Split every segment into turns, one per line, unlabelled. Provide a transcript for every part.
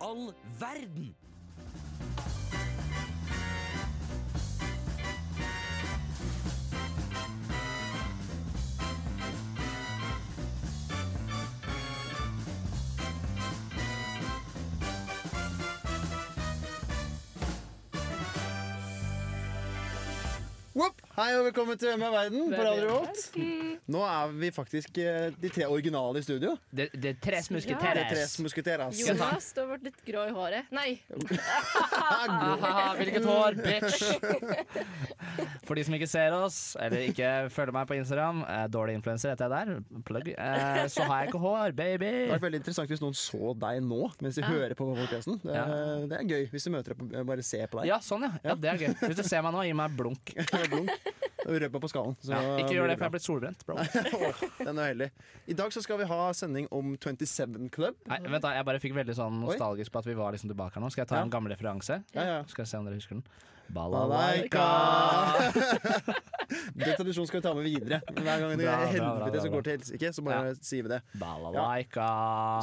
all verden?
Whoop! Hei og velkommen til Hvem er verden på Radio Revolt.
Mm.
Nå er vi faktisk eh, de tre originale i studio.
Det, det er tres
Det er tre
musketeres.
musketerer.
Jonas, du har vært litt grå i håret. Nei,
Haha, hvilket hår, bitch! For de som ikke ser oss, eller ikke følger meg på Instagram, eh, dårlig influenser heter jeg der, plugg, eh, så har jeg ikke hår, baby.
Det hadde vært veldig interessant hvis noen så deg nå mens de hører på podcasten. Det, er- det er gøy hvis du møter deg på Bare se på deg.
Ja, sånn ja. ja. Det er gøy. Hvis du ser meg nå, gi meg blunk.
Blunk. Røp meg på skallen. så
Ja, ikke gjør
blir
det, for jeg
bra.
er blitt solbrent. Bro.
Åh, Den er heldig. I dag så skal vi ha sending om 27 Club.
Nei, vent da, Jeg bare fikk veldig sånn
Oi.
nostalgisk på at vi var liksom tilbake her nå. Skal jeg ta
Ja.
en gammel referanse?
Ja, ja.
Skal jeg se om dere husker den.
Balalaika! Den tradisjonen skal vi ta med videre. Hver gang det
Bra,
er
bra, bra, bra,
helvete som
bra.
går til helsike, så bare
Ja.
sier vi det.
Balalaika.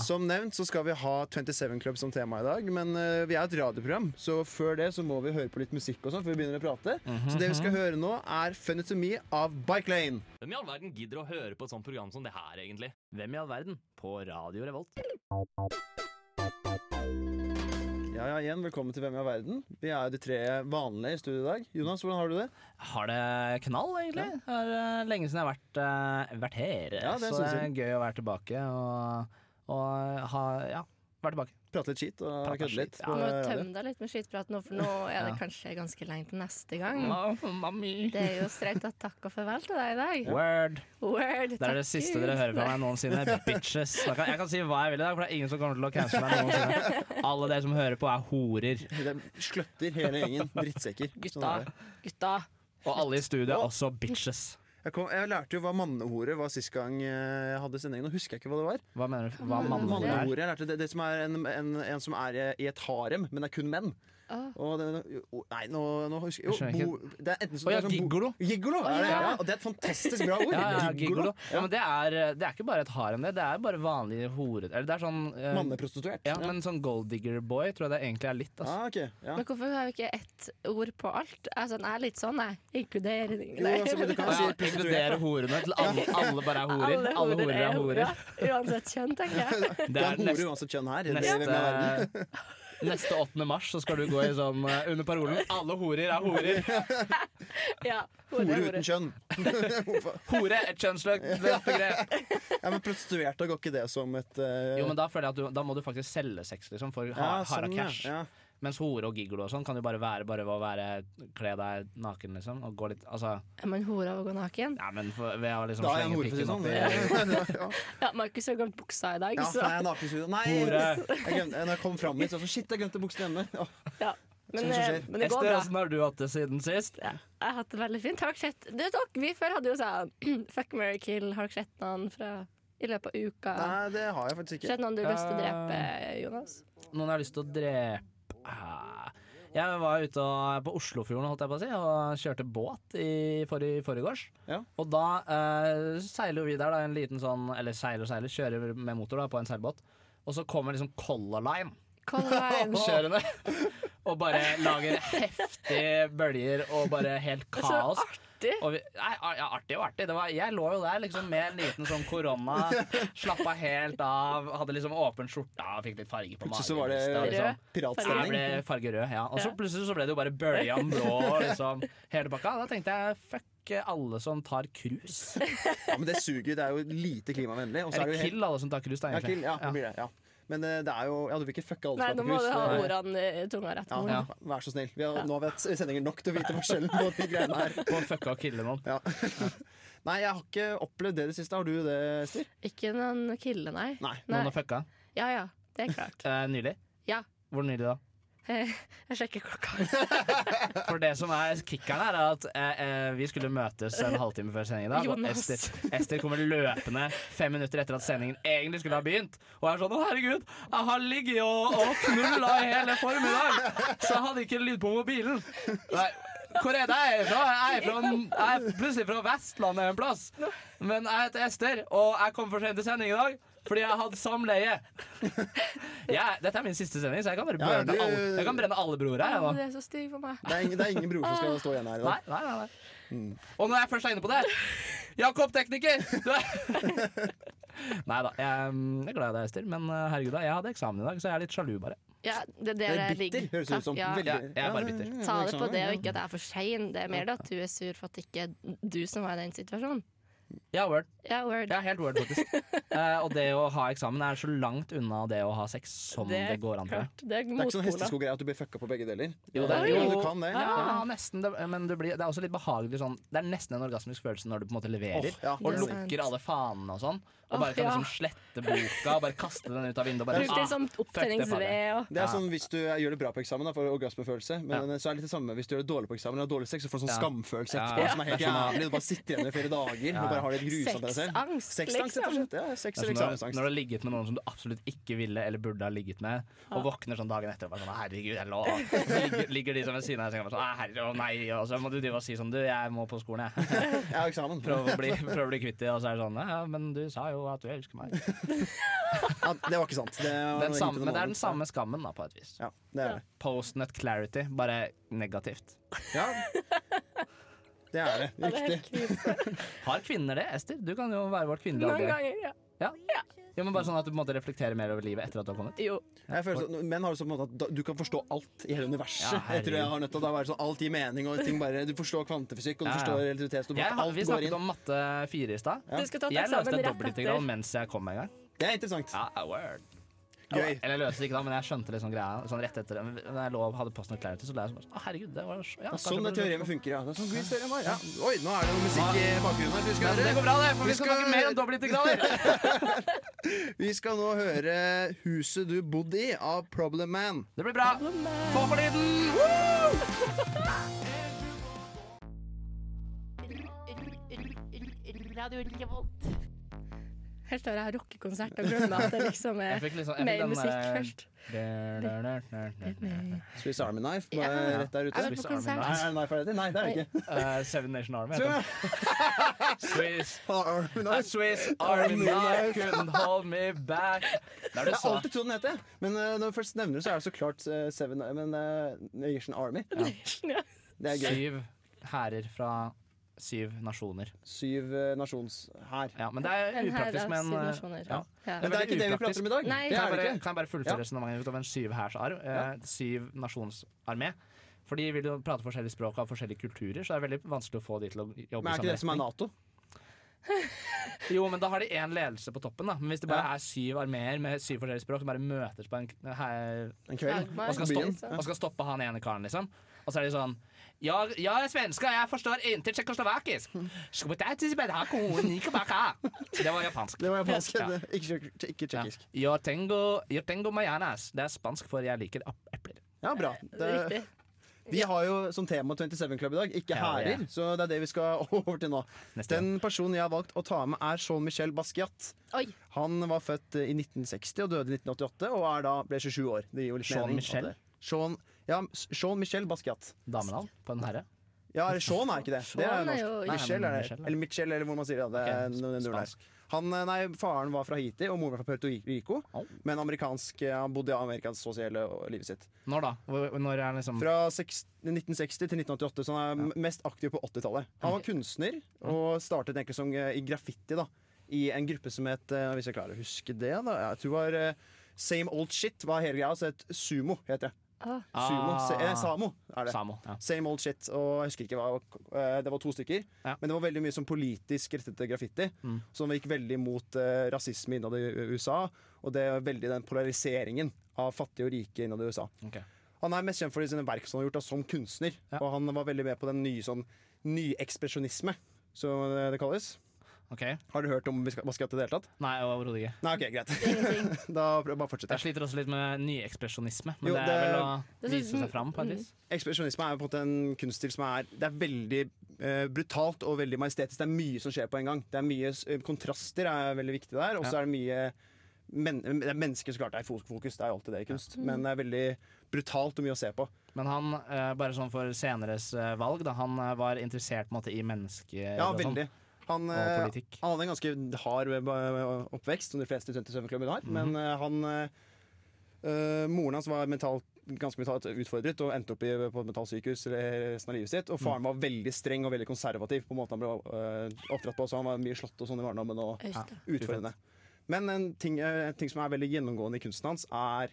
Som nevnt så skal vi ha 27 Club som tema i dag, men eh, vi er et radioprogram, så før det så må vi høre på litt musikk og sånn før vi begynner å prate.
Mhm.
Så det vi skal høre nå, er Fun to Me av Bike Lane.
Hvem i all verden gidder å høre på et sånt program som det her, egentlig?
Hvem i all verden? På Radio Revolt.
Ja, ja, igjen, velkommen til Hvem i all verden. Vi er jo de tre vanlige i studio i dag. Jonas, hvordan har du det?
Har det knall, egentlig. Det er eh, lenge siden jeg har vært, eh, vært her.
Ja, det er
så det
sånn
er gøy å være tilbake og, og eh, ha Ja, være tilbake.
Prate litt skit og
Prate
kødde litt.
skit, ja.
på
du må
radio.
tømme deg litt med skittprat nå, for nå er det
Ja.
kanskje ganske lenge til neste gang.
Mami.
Det er jo streit at takk og farvel til deg i dag.
Word.
Word,
Det er det
takk
siste
Gud.
dere hører fra meg noensinne. Bitches. Da kan, jeg kan si hva jeg vil i dag, for det er ingen som kommer til å cancele meg noensinne. Alle dere som hører på, er horer.
De sløtter hele gjengen. Drittsekker.
Gutta,
Sånn er det.
gutta.
Og alle i studio er også bitches.
jeg, kom, jeg lærte jo hva mannehoret var sist gang eh, jeg hadde sending. Nå husker jeg ikke hva det var.
Hva mener du? Hva mannen er?
Mannehoret, jeg lærte det, det som er en, en, en som er i et harem, men det er kun menn.
Ah.
Og det, jo, nei, nå, nå husker jeg
Jeg skjønner
jo, bo, det er enten
Å
sånn,
ja,
det er sånn bo-
gigolo.
Gigolo, er det,
ja.
ja, og det er et fantastisk bra ord.
Ja, ja, gigolo. Ja, men det er, det er ikke bare et harem, det. Det er bare vanlige horer... Eller det er sånn eh,
Um, Manneprostituert.
Ja, men sånn gold digger boy tror jeg det egentlig er litt. Altså.
Ah, ok, ja.
Men hvorfor har vi ikke ett ord på alt? Altså, jeg er litt sånn, jeg. Inkludering.
Jo, altså, men du kan si
Ja, inkludere horene til alle, alle bare er horer. Alle, horer er horer.
Uansett kjønn, tenker jeg.
Det er hore
nest-
uansett kjønn her. Det er,
neste, neste 8. mars så skal du gå i sånn eh, under parolen 'alle horer er horer'.
Ja, hore,
hore
hore.
uten kjønn.
Hore er et kjønnsløst begrep.
Ja, men prostituert, da går ikke det som et eh,
Jo, men da føler jeg at du, da må du faktisk selge sex, liksom, for ha,
ja,
harde
sånn, ja,
cash.
ja.
Mens hore og gigolo og sånn kan jo bare være bare å være kle deg naken, liksom, og gå litt Altså,
Er man hore av å gå naken?
ja, men for, ved å liksom
Da er jeg
slenge
en hore, for å si
pikken opp
det
i
sånn. Ja.
Ja, Markus har glemt buksa i dag,
Ja,
så
nei, jeg er naken i studio. Nei,
Hore.
jeg glemte, når jeg kom fram hit, så var det sånn Shit, jeg glemte buksene hjemme. Åh,
ja. Men,
Sånn som
eh,
skjer.
men det går
Ester,
bra.
åssen har du hatt det siden sist?
Ja, jeg har hatt det veldig fint. Har dere sett Det er dere, vi før hadde jo sånn Fuck, marry, kill. Har dere sett noen fra i løpet av uka?
Nei, det har jeg faktisk ikke.
Sett noen du har lyst til å drepe, Jonas?
noen jeg har lyst til å drepe Ah. Jeg var ute og, eh, på Oslofjorden holdt jeg på å si, og kjørte båt i forrige, forregårs.
Ja.
Og da eh, seiler vi der, da, en liten sånn Eller seiler og seiler, kjører med motor da, på en seilbåt. Og så kommer liksom Color Line
Colin.
kjørende. Og bare lager heftige bølger og bare helt kaos.
artig.
Og vi, nei, ar- ja, artig og artig. Det var, jeg lå jo der liksom med en liten sånn korona. Slappa helt av. Hadde liksom åpen skjorta og fikk litt farge på magen.
Plutselig så var det
og liksom- jeg
piratstemning.
ble farge rød, ja. Og så
Ja.
plutselig så ble det jo bare bøljan blå, liksom. Hele pakka. Da tenkte jeg fuck alle som tar cruise.
Ja, men det suger. Det er jo lite klimavennlig. Og så er
Eller
det jo helt
kill alle som tar cruise, da,
ja,
egentlig.
kill, ja, det blir det, ja. Men eh, det er jo Ja, du vil ikke fucke alle
Nei,
som
nå
er på
må du
cruise.
ha
Nei.
ordene i tunga rett.
Ja,
Morten.
Ja.
Vær så snill. Vi har, nå har vi hatt sendinger nok til å vite forskjellen på de greiene her.
På å fucke og kille noen.
Ja. Nei, jeg har ikke opplevd det i det siste. Har du det, Ester?
Ikke noen kille, nei.
Nei.
Nei.
Noen har fucka.
Ja ja, det er klart.
Eh, nylig.
Ja.
Hvor nylig da?
Jeg sjekker klokka.
For det som er kickeren her, er at eh, eh, vi skulle møtes en halvtime før sending i dag. Og
Jonas.
Ester, Ester kommer løpende fem minutter etter at sendingen egentlig skulle ha begynt. Og er sånn 'Å, herregud, jeg har ligget og, og knulla i hele formiddag', så jeg hadde ikke lyd på mobilen. Nei, hvor er det jeg er fra? Jeg er, fra, jeg er plutselig fra Vestlandet en plass. Men jeg heter Ester, og jeg kom for sent til sending i dag fordi jeg hadde samleie. Jeg, dette er min siste sending, så jeg kan bare
Ja, ja,
brenne
du-
alle, jeg kan brenne alle broer her.
Å,
jeg,
det er så stygg for meg.
Det er ingen, det er ingen bror som skal stå igjen her i
da. Nei,
dag.
nei, nei, nei.
Mm.
Og når jeg først er inne på det Jakob tekniker! Du er... Nei da, jeg, mm, jeg er glad i deg, Ester, men eh, herregud, da, jeg hadde eksamen i dag, så jeg er litt sjalu, bare.
Ja, det, det
Det
er
er
digg.
bitter, høres det ut som.
Ja.
Veldig-
Ja, jeg er bare bitter.
ja, ja,
Ta det på
eksamen,
det,
ja.
og ikke at det er for sein. Det er mer det at du er sur for at ikke du som var i den situasjonen.
Ja, word.
Ja, word.
Ja, helt word, faktisk. Eh, og det å ha eksamen er så langt unna det å ha sex som det,
er
går an. tror jeg.
klart. Det er
Det er ikke sånn
motpola.
hesteskogreie at du blir fucka på begge deler.
Jo, det er det.
Men du kan det.
Ja, nesten. Det, men det, blir, det er også litt behagelig sånn Det er nesten en orgasmisk følelse når du på en måte leverer.
Åh, ja.
Og
Det er sant.
lukker alle fanene og sånn. Og
Åh,
bare kan
ja.
liksom slette boka og bare kaste den ut av vinduet. og Bare,
Bruk det som opptenningsved og
Det er
Ja.
sånn hvis du gjør det bra på eksamen, da, for orgasmefølelse. Men så er det litt det samme hvis du gjør det dårlig på eksamen og har dårlig sex, så får du sånn
Ja.
skamfølelse
Ja.
etterpå som er helt jævlig. Du bare sitter igjen i flere dager og bare har det grusomt. av deg selv.
Sexangst, liksom.
Sexangst, rett og slett. Ja, sex
Det er som når,
eller
når du
eksamensangst.
har ligget med noen som du absolutt ikke ville eller burde ha ligget med, og våkner sånn dagen etter og bare sånn Herregud, jeg lå Så ligger, ligger de som ved siden av deg og sånn «Å, Herre, å nei, og så må du drive og si sånn Du, jeg må på skolen, jeg.
Ja, eksamen.
Prøve å bli, prøve å bli kvitt det, og så er det sånn Ja, men du sa jo at du elsker meg.
Ja, det var ikke sant. Det var
Den
egentlig
samme, men det er den
noe
samme skammen, da, på et vis.
annet. Ja, det er det.
Postnut clarity, bare negativt.
Ja. Det er det.
Ja, det er
Riktig.
helt krise.
Har kvinner det, Ester? Du kan jo være vårt kvinnelige
Noen
Andrea.
ganger, ja.
Ja. Ja, men bare sånn at du på en måte reflekterer mer over livet etter at du har kommet.
Jo.
Jeg føler sånn, menn har det sånn på en måte at da- du kan forstå alt i hele universet.
Ja,
jeg tror jeg
herregud.
har nødt til å da være sånn Alt gir mening, og ting bare Du forstår kvantefysikk, og du
Ja, ja.
forstår elektrisitet, så du
Jeg,
bare-
har- vi
alt går
snakket
inn.
om matte fire i stad.
Du skal ta
Jeg løste
eksamen
et
rett
dobbeltintegral
etter.
mens jeg kom en gang.
Det er interessant.
Ja, ja, word.
Gøy.
Eller jeg løste det ikke da, men jeg skjønte liksom greia sånn rett etter det. Men Da jeg lå og hadde Postnut clarity, så ble jeg sånn bare, Å, herregud, det var så, ja,
Ja,
kanskje
sånn det
burde-
teoremet funker, ja. Det er sånn Gud, teorem var, ja. Oi, nå er det noe musikk i bakgrunnen her. så Vi
Ja,
skal,
men Det går
høre.
bra, det, for
Vi
vi skal
skal-
snakke mer om dobbeltintegraler.
vi skal nå høre 'Huset du bodde i' av Problem Man.
Det blir bra. Få på lyden!
Her står jeg og har rockekonsert og glemmer at det liksom er
Jeg fikk liksom- jeg fikk
mer
den
musikk
der-
først.
Swiss Army Knife
Ja.
bare rett der ute.
Jeg var på
Swiss Army
konsert.
Nei, er det knife er det? Nei, det er det ikke.
Eh, Seven Nation Army heter den. Swiss
Army
A
Knife.
Swiss Army knife couldn't hold me back. Der du
Jeg har
sa
alltid trodd den het det, men eh, når du først nevner det, så er det så klart eh, Seven Men eh, Nation Army.
Ja.
Det er gøy.
syv hærer fra syv nasjoner.
Syv eh, nasjonshær.
Ja, men det er
En her
upraktisk
er
med en eh,
situasjoner.
ja.
Ja.
Men det er ikke det vi prater om i dag. Det
Nei.
Kan jeg
er det
bare,
ikke.
kan jeg bare
Ja.
fullføre resonnementet ut av en syv hærsarv? Eh, syv nasjonsarmé. For de vil jo prate forskjellige språk av forskjellige kulturer, så det er veldig vanskelig å få de til å
Men
jobbe
er ikke det som er
retning.
Nato?
Jo, men da har de én ledelse på toppen, da. Men hvis det bare
Ja.
er syv armeer med syv forskjellige språk som bare møtes på en k- her,
En kveld?
Dagmar.
og skal,
Byen.
stoppe, og skal stoppe han ene karen, liksom. Og så er de sånn ja, ja, svenska, jeg forstår intet tsjekkoslovakisk. Det var japansk.
Det var japansk.
Ja.
det- Ikke, ikke
Ja.
tsjekkisk.
Yo tengo, yo tengo mayanas. Det er spansk for 'jeg liker ap- epler'.
Ja, bra. Det,
Riktig.
Vi har jo som tema 27 Club i dag,
Ja,
ikke
det er.
hærer. Så det er det vi skal over til nå.
Neste
Den personen jeg har valgt å ta med, er Jean-Michel Basquiat.
Oi.
Han var født i 1960 og døde i 1988, og er da, ble 27 år. Det gir jo litt mening.
Jean-Michel?
at det- Jean, ja, Jean-Michel Basquiat.
Damenavn på en herre.
Ja, eller Jean er ikke det. Det er
Jean er
norsk.
jo-
Nei,
Nei,
Michel
men
er det.
Michel, ja.
Eller Michel, eller hvor man sier det. det er
Ok,
noen- noen der.
spansk.
Han, eh, nei, Faren var fra Haiti, og moren var fra Puerto Rico.
Au.
Men amerikansk, eh, han bodde i Amerika så å si hele livet sitt.
Når da? Hvor- Når er liksom
Fra seks- 1960 til 1988, så han er m- mest aktiv på 80-tallet. Han var kunstner og startet egentlig som eh, i graffiti da, i en gruppe som het eh, Hvis jeg klarer å huske det, da. Jeg tror det var eh, Same Old Shit var hele greia. Så het Sumo, heter det.
Ah.
Sumo, se, eh, Samo er det.
Samo. Ja.
Same old shit. Og jeg husker ikke hva eh, Det var to stykker.
Ja.
Men det var veldig mye sånn politisk rettete graffiti.
Mm.
Som gikk veldig mot eh, rasisme innad i USA. Og det er veldig den polariseringen av fattige og rike innad i USA.
Ok.
Han er mest kjent for sine verk som han har gjort da, som kunstner.
Ja.
Og han var veldig med på den nye sånn nyekspresjonisme, som det kalles.
Ok.
Har du hørt om Basquiat Basquiat i det hele tatt?
Nei, overhodet ikke.
Nei, ok, greit.
Ingenting.
da prøv- bare
Jeg
fortsetter jeg.
sliter også litt med nyekspresjonisme, men
Jo,
det
det-
er vel å
Det synes-
vise seg fram på et vis.
Ekspresjonisme er på en måte en kunststil som er Det er veldig eh, brutalt og veldig majestetisk. Det er mye som skjer på en gang. Det er mye s- eh, Kontraster er veldig viktig der, og så
Ja.
er det mye men, det er mennesker så klart det er fo- fokus, det er jo alltid det i kunst.
Mm.
Men det er veldig brutalt og mye å se på.
Men han, eh, bare sånn for seneres eh, valg, da, han eh, var interessert på en måte i mennesker
Ja,
og sånn.
veldig. Han,
Og
eh,
politikk.
han hadde en ganske hard eh, ba- oppvekst, som de fleste studenter i svømmeklubben har. Men
Mhm.
eh, han eh, eh, Moren hans var mentalt ganske mentalt utfordret og endte opp i, på et mentalsykehus re- resten av livet sitt. Og
Mm.
faren var veldig streng og veldig konservativ på måten han ble eh, oppdratt på. Så han var mye slått og sånn i barndommen. Og,
Øystein.
utfordrende. Men en ting, eh, en ting som er veldig gjennomgående i kunsten hans, er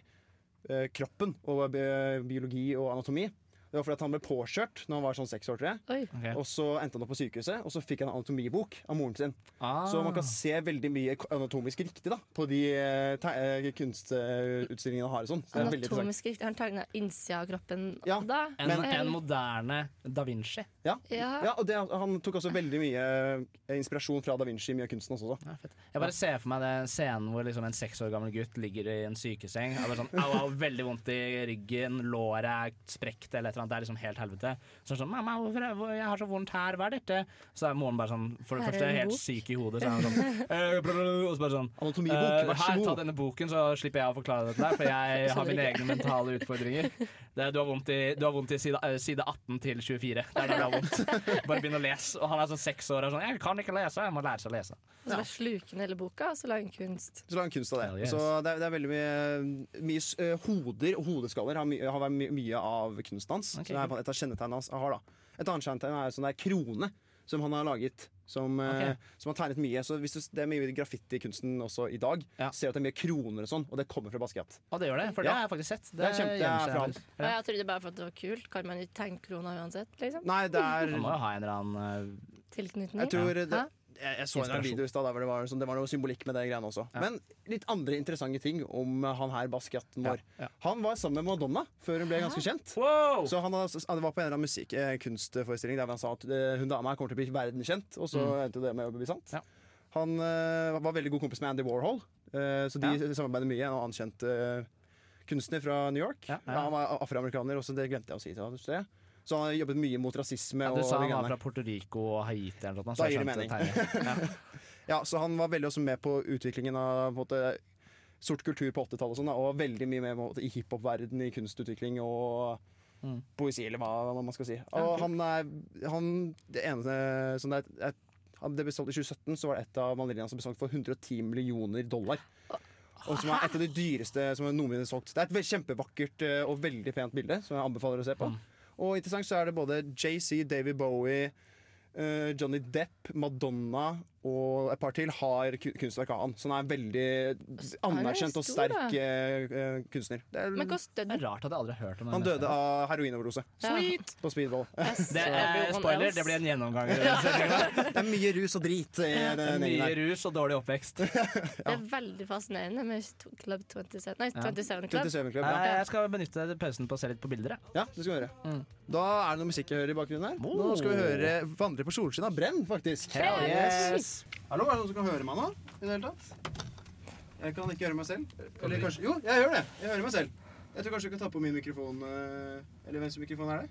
eh, kroppen og eh, bi- biologi og anatomi. Det var fordi at han ble påkjørt når han var sånn seks år, tror jeg.
Oi.
Ok.
Og så endte han opp på sykehuset, og så fikk han en anatomibok av moren sin.
Ah.
Så man kan se veldig mye k- anatomisk riktig da, på de eh, te- eh, kunstutstillingene han har. og sånn. Så det er veldig interessant.
Anatomisk riktig. Han tegna innsida av kroppen
Ja,
da.
en,
men-
en moderne da Vinci.
Ja.
Ja.
Ja, og det, han tok også veldig mye eh, inspirasjon fra da Vinci i mye av kunsten også. da.
Ja, fett. Jeg bare ser for meg den scenen hvor liksom en seks år gammel gutt ligger i en sykeseng. Og bare sånn, au, au, veldig vondt i ryggen, låret er sprekt eller et eller annet. Det er liksom helt helvete. Så er det sånn, mamma, hvorfor er, hvor, jeg har så vondt her, hva er dette? Så er moren bare sånn, for det
Her er
første
en
helt
bok.
syk i hodet, så er han sånn, «Eh, bla, bla, bla», og så bare sånn,
Anatomibok,
«Eh,
vær så
her, ta
god!
denne boken, så slipper jeg å forklare dette der, for jeg har mine egne mentale utfordringer. Det, du har vondt i, du har vondt i side, eh, side 18 til 24. Det er der du har vondt. Bare begynn å lese. Og han er sånn seks år og er sånn, jeg kan ikke lese, jeg må lære seg å lese.
Og så bare sluke den hele boka, og så lage en kunst.
Så lag kunst av det.
Hell yes.
Så det er, det er veldig mye, mye s- eh, hoder og hodeskaller har, my, har vært my, mye av kunsten hans.
Ok,
Så det er et av kjennetegnene hans. jeg Har, da. Et annet kjennetegn er sånn der krone som han har laget. Som, eh,
Ok.
som har tegnet mye. Så hvis du, s- Det er mye graffiti i kunsten også i dag.
Ja.
Ser at det er mye kroner og sånn, og det kommer fra Basquiat.
Og det gjør det, for det
Ja.
har jeg faktisk sett.
Det er kjempe- det er
gjemmer seg
fra
her.
han.
Og jeg trodde bare for at det var kult. Kan man ikke tenke krona uansett? Liksom?
Nei, det er
Han må jo ha en eller annen eh,
Tilknytning.
Jeg tror det,
Hæ?
jeg, jeg så en
Inspirasjon.
video i stad der hvor det var, sånn, det var noe symbolikk med det greiene også. Men litt andre interessante ting om eh, han her Basquiaten vår.
ja.
Han var sammen med Madonna før hun ble ganske kjent.
Wow!
Så han hadde, det var på en eller annen musikk, eh, kunstforestilling der han sa at eh, hun dama her kommer til å bli verdenskjent, og så endte jo det med å bli sant.
Mm. Ja.
Han eh, var veldig god kompis med Andy Warhol, eh, så de
Ja.
samarbeider mye. En annen kjent eh, kunstner fra New York.
Ja, ja.
Han var afroamerikaner også, det glemte jeg å si til deg. husker jeg. Så han har jobbet mye mot rasisme.
Ja, du
og
sa han
de
var
greiene.
fra Puerto Rico og Haiti eller noe sånt.
Da
så jeg
gir det
skjønte
mening.
tegnet. Ja.
Ja, så han var veldig også med på utviklingen av på en måte, sort kultur på 80-tallet og sånn, da, og var veldig mye med på en måte, i hiphop-verden, i kunstutvikling og
Mm.
poesi, eller hva hva man skal si. Og han er han, Det eneste som det er et, han, Det ble solgt i 2017, så var det et av maleriene hans som ble solgt for 110 millioner dollar. Og som er et av de dyreste som er noensinne solgt. Det er et ve- kjempevakkert eh, og veldig pent bilde, som jeg anbefaler å se
Mm.
på. Og interessant så er det både JC, David Bowie Eh, Johnny Depp, Madonna og et par til har ku- kunstverk av han. Så han er veldig anerkjent og
stor,
sterk
da.
eh, eh, kunstner. Det er,
Men hva stødde
Det
den?
er rart at jeg aldri har hørt om
han døde av heroinoverdose
Sweet!
på speedball.
Det er spoiler, det blir en gjennomgang. i den sendingen.
det er mye rus og drit i den gjengen
Mye
der.
rus og dårlig oppvekst.
Det er veldig fascinerende med to- Club 27 Nei,
Ja.
27 Club.
27 Club,
Nei,
ja.
Eh, Jeg skal benytte pausen på å se litt på bilder. jeg.
ja, det skal vi gjøre.
Mm.
Da er det noe musikk jeg hører i bakgrunnen her. Nå
Oh.
skal vi høre 'Vandre på solskinn' av Brenn, faktisk.
Hell yes!
Hallo, er det noen som kan høre meg nå? I det hele tatt? Jeg kan ikke høre meg selv. Eller kanskje Jo, jeg gjør det! Jeg hører meg selv. Jeg tror kanskje du kan ta på min mikrofon. eh, Eller hvem sin mikrofon er det?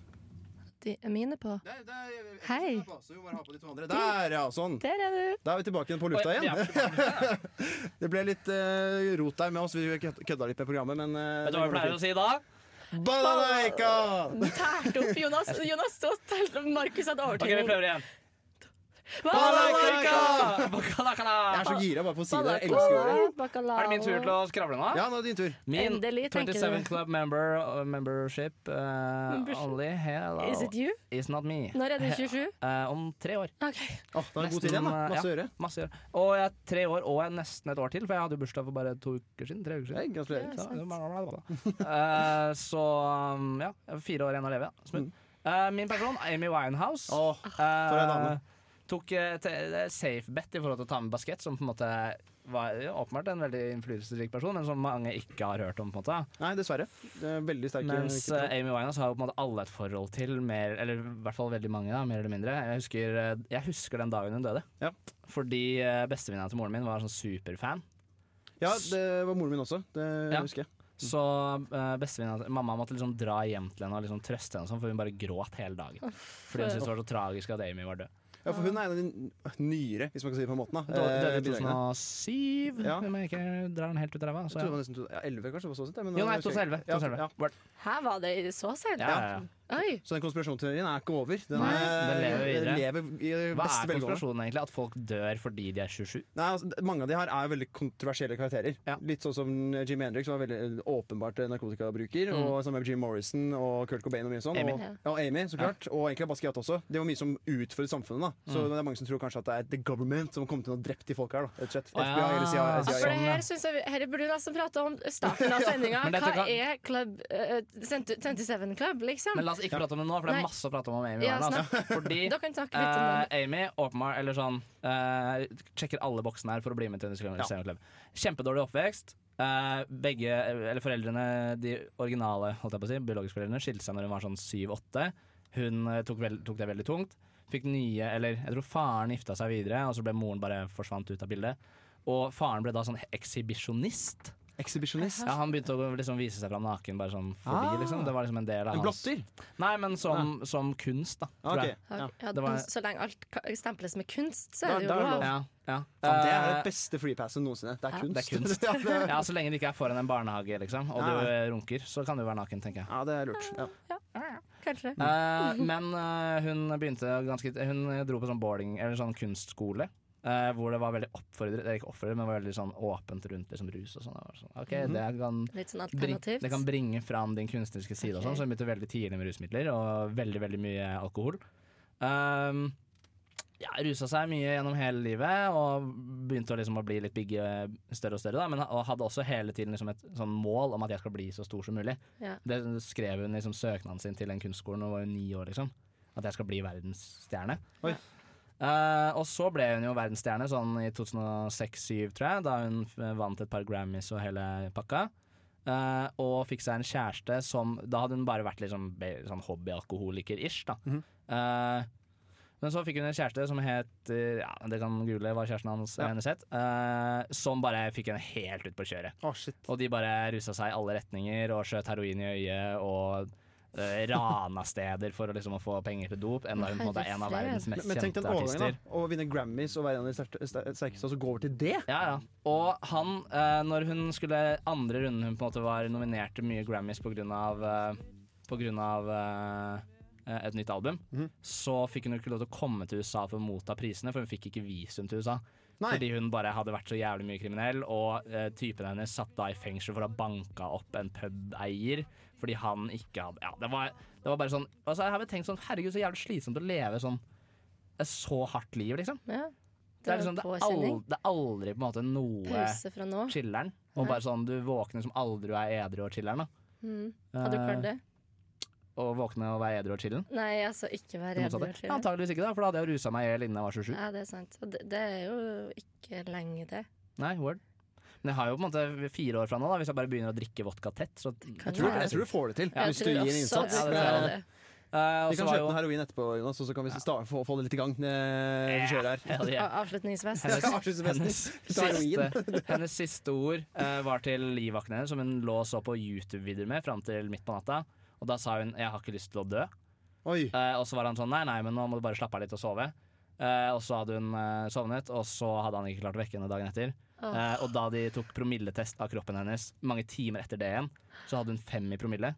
De er mine på.
Der, der, jeg- jeg-
Hei.
jeg skal bare passe, vi må bare ha på de to andre. Der, ja. Sånn.
Der er du!
Da er vi tilbake igjen på lufta
Oi, ja.
igjen. Det ble litt eh, rot der med oss. Vi kødda litt med programmet, men eh,
Vet du hva
det
jeg
går
pleier
nok
å si da?
fint. Balalaika!
Du tærte opp Jonas. Jonas stå og telte om Markus hadde
Ok, vi
overtenning.
prøver igjen.
Balalaika!
Bakalakala!
Jeg er så gira bare på å si det. Jeg elsker
Bacalao,
ordet.
bacalao.
Er det min tur til å skravle nå?
Ja, nå er det din tur.
Min
Endelig, tenker du.
27 Club member, uh, membership uh,
Membership.
only. Hello.
Is it you?
It's not me.
Når er du
He-
27?
Eh, om tre år.
OK.
Åh, da er det god tid igjen. da.
Nesten,
Masse å
ja.
gjøre.
Masse å gjøre. Og jeg er tre år og jeg er nesten et år til, for jeg hadde jo bursdag for bare to uker siden. Tre uker
Hei,
siden.
Gratulerer.
Så,
sant.
eh, så um, ja, jeg har fire år igjen å leve. Ja.
Mm.
Smooth. Eh, min person, Amy Winehouse.
Åh,
Eh,
for en dame.
Tok eh, et eh, safe bet i forhold til å ta med baskett, som på en måte var ja, åpenbart en veldig innflytelsesrik person, men som mange ikke har hørt om. på en måte
Nei, dessverre. Det er veldig sterke
Mens eh, Amy Winehouse har jo på en måte alle et forhold til, mer, eller i hvert fall veldig mange, da, mer eller mindre. Jeg husker, eh, jeg husker den dagen hun døde.
Ja.
Fordi eh, bestevenninna til moren min var sånn superfan.
Ja, det var moren min også. Det
Ja.
husker jeg.
Så eh, bestevenninna til- Mamma måtte liksom dra hjem til henne og liksom trøste henne, og sånn, for hun bare gråt hele dagen. Fordi hun syntes det var så tragisk at Amy var død.
Ja, for hun er en av de nyere, hvis man kan si det på den måten. Da.
Døde
Eh,
i
bidragene.
2007,
Ja.
om jeg ikke drar den helt ut av ræva. så ja.
Jeg trodde det var nesten to- ja, 11, kanskje. det var Så sent, ja, men-
Jo, nei, 2011.
Ja,
2011.
ja.
Word.
Her var dere så sent.
Ja, ja, ja.
Oi.
Så den konspirasjonsteorien er ikke over. Den,
Nei,
er,
den lever videre.
lever i
Hva
beste
er
velgående.
konspirasjonen egentlig? At folk dør fordi de er 27?
Nei, altså, d- mange av de her er veldig kontroversielle karakterer.
Ja.
Litt sånn som Jim Hendrix var veldig eh, åpenbart narkotikabruker.
Mm.
Og sammen med Jim Morrison og Kurt Cobain og mye sånn.
Amy.
Og, ja, og Amy, så klart. Og egentlig Basquiat også. Det var mye som utfordret samfunnet. da
Mm.
Så det er mange som tror kanskje at det er the government som har kommet inn og drept de folka her. da Rett og slett.
Å, ja.
FBI eller CIA.
Ja,
Ja, for det
sånn, ja.
her, synes jeg, vi- her burde vi nesten prate om starten av sendinga.
Men dette
Hva
kan-
er Club eh, 27 Club, liksom?
Men la oss ikke prate om det nå, for det
Nei.
er masse å prate om om Amy.
Ja,
Warren, altså. Fordi
Dere kan snakke litt om
eh,
den.
Amy åpenbart eller sånn, eh, sjekker alle boksene her for å bli med til Underskudd.
Ja.
Kjempedårlig oppvekst. Eh, begge, eller foreldrene, de originale holdt jeg på å si, biologiske foreldrene skilte seg når hun var sånn 7-8. Hun eh, tok, vel- tok det veldig tungt. Fikk nye, eller jeg tror faren gifta seg videre, og så ble moren bare forsvant ut av bildet. Og faren ble da sånn ekshibisjonist.
Ekshibisjonist.
Ja, han begynte å liksom vise seg fram naken bare sånn fordi,
Ah.
liksom. Det var liksom en del av
En
hans
blotter? Ah,
Nei, men som, som kunst, da. Tror
Ok.
jeg.
Ja.
Ja,
det var-
Så lenge alt ka- stemples med kunst, så
Da-
er det jo
da er det
lov.
lov.
Ja, ja.
Faen, det er
Eh,
det beste freepassen noensinne. Det er
Ja,
kunst.
det er kunst.
ja, det er,
ja, Så lenge du ikke er foran en barnehage liksom, og
Nei,
du
nei.
eh, runker, så kan du være naken, tenker jeg.
ja, det er lurt. Ja.
Kanskje.
Mm.
Eh, men eh, hun begynte ganske Hun dro på sånn boarding, eller sånn kunstskole. eh, hvor det var veldig oppfordret, eller ikke oppfordret, men var veldig sånn åpent rundt liksom, rus og sånn. Det var sånn, Ok,
Mm-hmm.
det kan
Litt sånn
bring,
alternativt.
det kan bringe fram din kunstneriske side. og sånn,
Ok.
Så hun begynte veldig tidlig med rusmidler og veldig veldig mye alkohol. Um, ja, Rusa seg mye gjennom hele livet og begynte å, liksom, å bli litt bigge, større og større. Da, men, og hadde også hele tiden liksom, et sånn mål om at jeg skal bli så stor som mulig.
Ja.
Det skrev hun liksom, søknaden sin til den kunstskolen da hun var jo ni år. liksom At jeg skal bli verdensstjerne.
Oi.
Eh, og så ble hun jo verdensstjerne sånn i 2006-2007, tror jeg, da hun f- vant et par Grammys og hele pakka. Eh, og fikk seg en kjæreste som Da hadde hun bare vært litt sånn, be- sånn hobbyalkoholiker-ish, da.
Mhm.
Eh, men så fikk hun en kjæreste som het eh, Ja, det kan google hva kjæresten hans
Ja.
hennes het. eh, som bare fikk henne helt ut på kjøret.
Å, shit.
Og de bare rusa seg i alle retninger og skjøt heroin i øyet og eh, rana steder for å liksom å få penger til dop. Enda hun på en måte er en av
Herre
verdens
Men,
mest
men tenk den
kjente
overgangen, da.
artister.
Å vinne Grammys og være en av de sterke- ster- sterkeste, og så gå over til det.
Ja, ja. Og han, eh, når hun skulle andre runden hun på en måte var nominert til mye Grammys på grunn av, eh, på grunn av eh, et nytt album,
Mhm.
så fikk hun jo ikke lov til å komme til USA for å motta prisene, for hun fikk ikke visum til USA.
Nei.
Fordi hun bare hadde vært så jævlig mye kriminell, og eh, typen hennes satt da i fengsel for å ha banka opp en pubeier fordi han ikke hadde Ja, det var, det var bare sånn altså, Jeg har vel tenkt sånn Herregud, så jævlig slitsomt å leve sånn et så hardt liv, liksom.
Ja.
Det er,
var
liksom, det er, aldri,
påkjenning.
det er aldri på en måte noe
Pause fra nå.
chiller'n. Og bare sånn, du våkner som aldri du er edru og chiller'n. da.
Mm. Hadde du klart
Eh,
det?
Å våkne og være edru og chiller'n.
Nei, altså ikke
Det
være
motsatte.
edru. Ja,
Antakeligvis ikke, da, for da hadde jeg rusa meg i hjel innen jeg var 27.
ja, det er sant. Og det, det er jo ikke lenge, det.
Nei, word. Men jeg har jo på en måte fire år fra nå, da, hvis jeg bare begynner å drikke vodka tett. Så
kan
Jeg tror, jeg tror du får det til,
Jeg
hvis du
tror
gir
også
innsats.
at
Ja,
det
er
er
det.
det.
Eh, og
Vi
så
kan
var jo
kjøpe noe heroin etterpå, Jonas, og så kan vi sta- få, få det litt i gang. eh, vi kjører her.
Hell yeah.
A- Avslutningsfest.
Hennes-
Det er avslutningsfesten.
hennes
Ta heroin.
siste, hennes siste ord eh, var til livvakten hennes, som hun lå og så på YouTube-videoer med fram til midt på natta. Og da sa hun 'jeg har ikke lyst til å dø'.
Oi.
Eh, og så var han sånn 'nei, nei, men nå må du bare slappe av litt og sove'. Eh, og så hadde hun eh, sovnet, og så hadde han ikke klart å vekke henne dagen etter.
Åh.
Eh, og da de tok promilletest av kroppen hennes mange timer etter det igjen, så hadde hun fem i promille.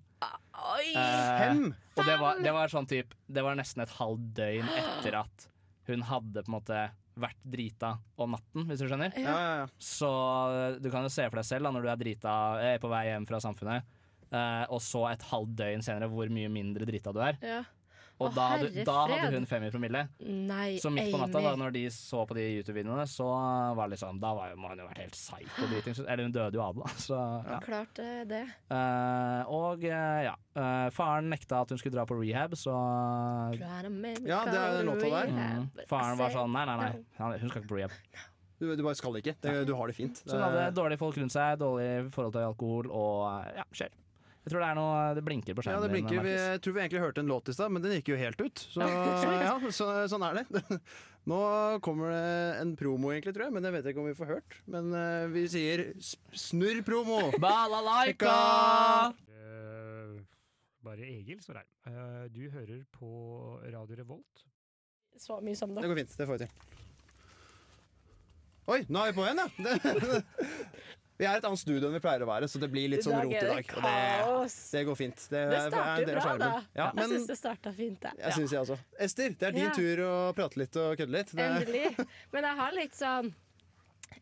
Oi!
Eh,
Fem!
og det var, det var sånn typ Det var nesten et halvt døgn etter at hun hadde på en måte vært drita om natten, hvis du skjønner.
Ja, ja, ja.
Så eh, du kan jo se for deg selv da, når du er drita eh, på vei hjem fra samfunnet, eh, og så et halvt døgn senere hvor mye mindre drita du er.
Ja.
Og
Å,
da, hadde,
herre
da
fred.
hadde hun fem i promille.
Nei,
Så midt på natta, da
Amy.
når de så på de YouTube-videoene, så var det liksom Da var jo, må hun jo ha vært helt psycho-driting. Eller hun døde jo av det, da. Så, ja.
Klart eh, det.
Eh, og eh, ja. Eh, faren nekta at hun skulle dra på rehab, så
Ja, det er den låta der.
mm, Faren var sånn nei, nei, nei, han- hun skal ikke på rehab.
Du, du bare skal ikke. Det, du har det fint.
Så hun
Øh.
hadde dårlige folk rundt seg, dårlig forhold til alkohol og eh, ja, skjer. Jeg tror det er noe Det blinker på
ja,
skjermen.
det
din,
blinker. Vi,
Markus.
jeg tror vi egentlig hørte en låt i stad, men den gikk jo helt ut. Så, ja, så sånn er det. Nå kommer det en promo, egentlig, tror jeg, men jeg vet ikke om vi får hørt. Men eh, vi sier s- snurr promo!
Balalaika!
Eh, bare Egil som er her. Eh, du hører på Radio Revolt
så mye som
Det
dere.
går fint. Det får vi til. Oi, nå er vi på igjen, ja! Det- Vi er et annet studio enn vi pleier å være, så det blir litt sånn rot i dag. Og det,
kaos.
det går fint. Det,
Det
er- er en
starter
del
jo
av
bra, da.
skjermen. Ja,
Jeg
men
syns det starta fint, jeg.
jeg syns jeg også. Ester, det er din
Ja.
tur å prate litt og kødde litt. Det,
Endelig. Men jeg har litt sånn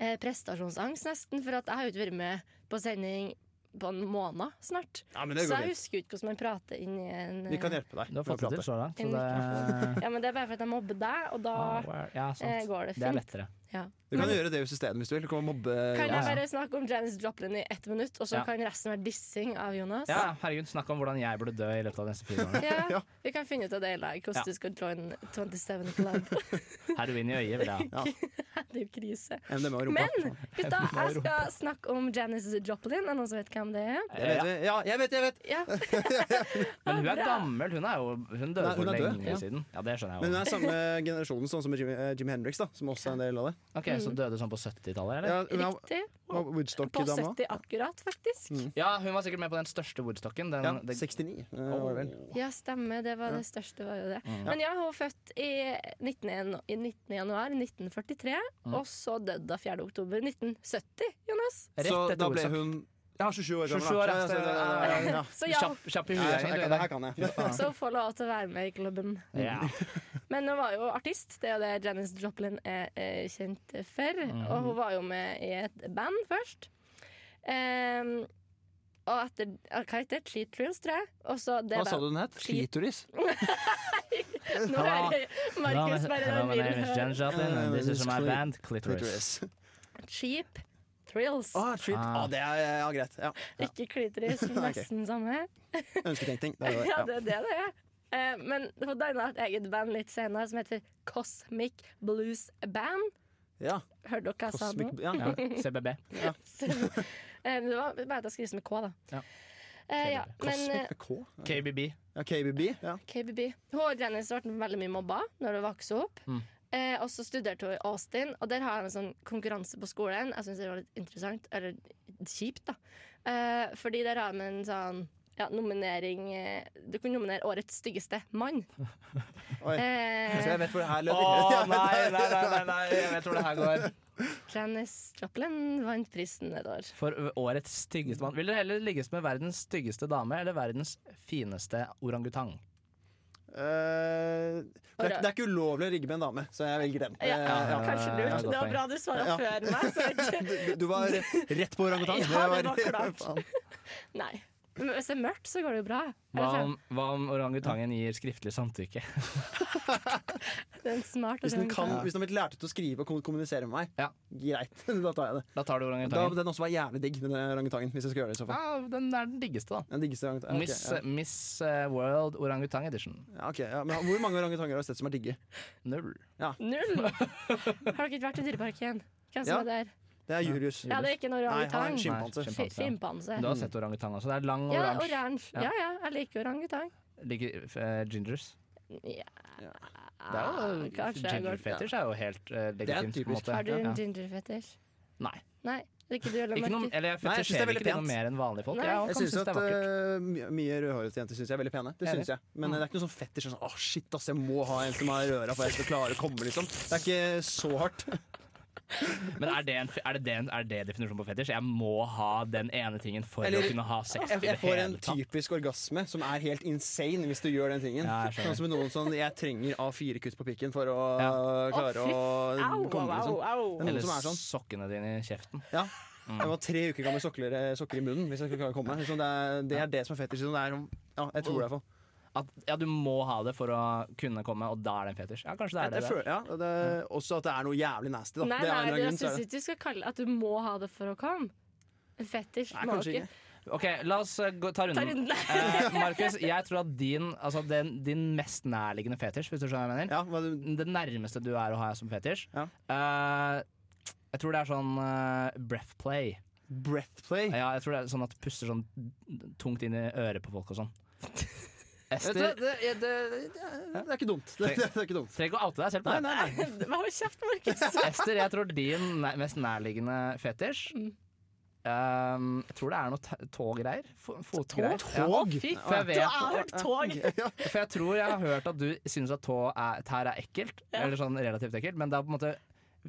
eh, prestasjonsangst, nesten, for at jeg har jo ikke vært med på sending på en måned snart.
ja, men det går
Så jeg
fint.
husker jo ikke hvordan man prater inn i en eh,
Vi kan hjelpe deg.
Du har
med å
fått det til
prate.
så langt. Så
En
det,
Ja, men det er bare fordi jeg mobber deg, og da
Ah, well, ja,
eh,
sant.
går det
Det er
fint.
lettere.
ja.
Du kan gjøre det i systemet hvis du vil. Du kan mobbe
Kan
Ja,
jeg
ja.
bare snakke om Janice Joplin i ett minutt, og så
Ja.
kan resten være dissing av Jonas?
Ja, herregud, snakk om hvordan jeg burde dø i løpet av de neste fire årene.
Ja.
Ja, Vi kan finne ut av det i lag, hvordan
Ja.
du skal join 27 Club.
Heroin i øyet vil jeg ha.
det er jo krise.
MDMA i rumpa.
Men gutta, jeg skal snakke om Janice Joplin. Er det noen som vet hvem det er?
Jeg vet,
Ja.
det. ja, jeg vet, jeg vet!
Ja.
Men hun
Bra.
er gammel. Hun, er jo, hun døde
Nei, hun
for
er død,
lenge
ja.
siden. Ja, det skjønner
Men hun
jeg jo.
er samme generasjonen sånn som Jim, eh, Jimi Hendrix, da, som også er en del av det.
Ok, Så
Mm.
døde sånn på 70-tallet, eller?
Ja, hun er-
Riktig.
var
På
Woodstock-dama.
70 akkurat, faktisk.
Ja, hun var sikkert med på den største woodstocken. Den,
Ja,
det,
69 eh, var det vel.
Ja, stemmer. Det var det største. var jo det. Men ja, hun var født i 19, i 19. januar 1943, og så døde hun 4. oktober 1970, Jonas.
rett
Så
etter
da ble
woodstock.
hun Ja, 27 år
27 år
Ja, ja,
etter-
ja, ja, ja, ja.
Så ja,
Kjapp, kjapp i
Ja,
huet.
jeg skjønner,
Ingrid,
jeg kan- Det her kan jeg.
i dag.
så hun får lov til å være med i klubben.
Ja.
Men hun var jo artist, det er jo det Janis Joplin er eh, kjent for.
Mhm.
Og hun var jo med i et band først. Ehm, og etter eh, Hva heter det? Cheat Thrills, tror jeg. Og så det
Hva sa du den het?
Sli-
Klitoris?
Nå
Ja.
hører Markus bare
Hello,
den
my name is
lyden.
Jen Joplin, and this is my band, Clitoris.
Klitoris.
Cheap Thrills.
Ah, treat.
Ah.
Ah, det er ja, greit. Ja. ja.
Ikke klitoris, men
Ok.
nesten samme.
Ønsketenkning. Det er det.
Ja,
Ja.
det er det det er. Eh, Men hun danna et eget band litt senere som heter Cosmic Blues Band.
Ja.
Hørte dere hva jeg sa nå?
Cosmic, ja.
Ja, CBB.
Så, eh, det var bare at jeg skrives med K, da.
Ja.
Eh, ja, men eh,
Cosmic med K?
KBB.
Ja, KBB. Ja.
KBB. Hun og Janice ble veldig mye mobba når hun vokste opp.
Mm.
Eh, og så studerte hun i Austin, og der har de en sånn konkurranse på skolen. Jeg syns det var litt interessant, eller kjipt, da. Eh, fordi der har de en sånn ja, nominering eh, Du kunne nominere årets styggeste mann.
Oi. Så
Eh,
jeg vet hvor det her lød.
Å
Ja,
nei, nei, nei, nei, nei, jeg vet hvor det her går.
Janice Joplin vant prisen et år.
For årets styggeste mann. Vil dere heller ligges med verdens styggeste dame eller verdens fineste orangutang?
Eh, det, er, det er ikke ulovlig å rigge med en dame, så jeg velger den.
Ja,
Eh, ja.
kanskje
det er
lurt.
et godt
Det var
poeng.
bra du svara
Ja.
før meg. Så ikke
Du, du var rett på orangutang.
Ja, det var klart.
Faen.
Nei. Men hvis det er mørkt, så går det jo bra. Er
Hva
det
om, hva om orangutangen gir skriftlig samtykke?
sant? Det er en smart
Hvis den, kan,
orangutan.
hvis den har blitt lært ut å skrive og kom- kommunisere med meg,
Ja.
greit. Da tar jeg det.
Da tar du
Da
orangutangen.
må den også være jævlig digg, den orangutangen. Hvis jeg skal gjøre det i så fall.
Ja, den er den diggeste, da.
Den diggeste orangutangen.
Miss,
Ok, ja.
Miss eh, World Orangutang Edition.
Ja, ok, ja. Men hvor mange orangutanger har du sett som er digge?
Null.
Null! Har dere ikke vært i Dyreparken? Hvem som
Ja.
er der?
Det er Julius.
Ja, det er ikke en
Nei,
orangutang.
han Skimpanse.
Nei,
Sk-
skimpanse.
Skimpanse.
Du har sett orangutang også. Det er lang
Ja,
oransje.
oransje. Ja ja, jeg liker orangutang.
Liker eh, gingers.
Ja,
Det er jo,
Ah, kanskje jeg går
gingerfetisj er jo helt uh, legitimt.
typisk.
på en måte.
Har du en
Ja.
gingerfetisj?
Nei.
Nei. Ikke du heller,
Ikke noe,
Markus?
eller jeg
Nei, jeg synes det er
fetisjerer
veldig
ikke til
pent.
noe mer enn vanlige folk.
Nei.
Jeg,
Jeg
kan
synes
synes det
at
er vakkert.
eh, my- Mye rødhårete jenter syns jeg er veldig pene. Det
Enig.
synes jeg Men det er ikke noe sånn fetisj sånn, Åh, shit, ass, jeg må ha en som har røra for jeg skal klare å komme, liksom. Det er ikke så hardt.
Men er det, en, er, det det, er det definisjonen på fetisj? Jeg må ha den ene tingen for
Eller-
å kunne ha sex
Jeg,
i det
jeg får en
hele tatt.
typisk orgasme som er helt insane hvis du gjør den tingen.
Ja, jeg skjønner.
Sånn som noen sånn Jeg trenger A4-kutt på pikken for å
Ja.
klare
Å, fy
å
Au,
komme,
au,
liksom.
au.
noen
Eller
som er sånn.
sokkene dine i kjeften.
Ja. Jeg var tre uker gammel sokker, sokker i munnen hvis jeg skulle klare å komme. Så det, er, det er det som er fetisj. Sånn, det er, sånn- ja, jeg tror det, i hvert fall.
At, ja, du må ha det for å kunne komme, og da er det en fetisj. Ja, kanskje det
Jeg,
er det.
jeg
det.
føler, ja, og det er også at det er noe jævlig nasty. Da.
Nei,
det er en
nei, altså,
eller annen
jeg
grunn, så er
syns
det.
ikke du skal kalle at du må ha det for å komme. En fetisj
Nei,
må
kanskje
ikke
ikke.
Ok, la oss eh, gå, ta
Ta
runden.
runden.
Eh, Markus, jeg tror at din, altså den, din mest nærliggende fetisj, hvis du skjønner hva jeg mener
Ja, hva, du-
Det nærmeste du er å ha som fetisj
Ja.
eh, Jeg tror det er sånn eh, breath play.
breath play.
Ja, jeg tror det er sånn at du puster sånn tungt inn i øret på folk og sånn.
Vet du hva,
Ester,
det, er- det, det, det er ikke dumt. Det, det, det er ikke dumt.
trenger ikke å oute deg selv på
Nei,
det.
nei, nei.
Hold kjeft, Markus. Mm.
Ester, jeg tror din næ- mest nærliggende fetisj ehm, Jeg tror det er noe t- toggreier. fo- Fotgreier.
Tog?
Ja, fy, for jeg vet
tog!
For jeg tror jeg har hørt at du syns at tå er, tær er ekkelt, eller sånn relativt ekkelt, men da på en måte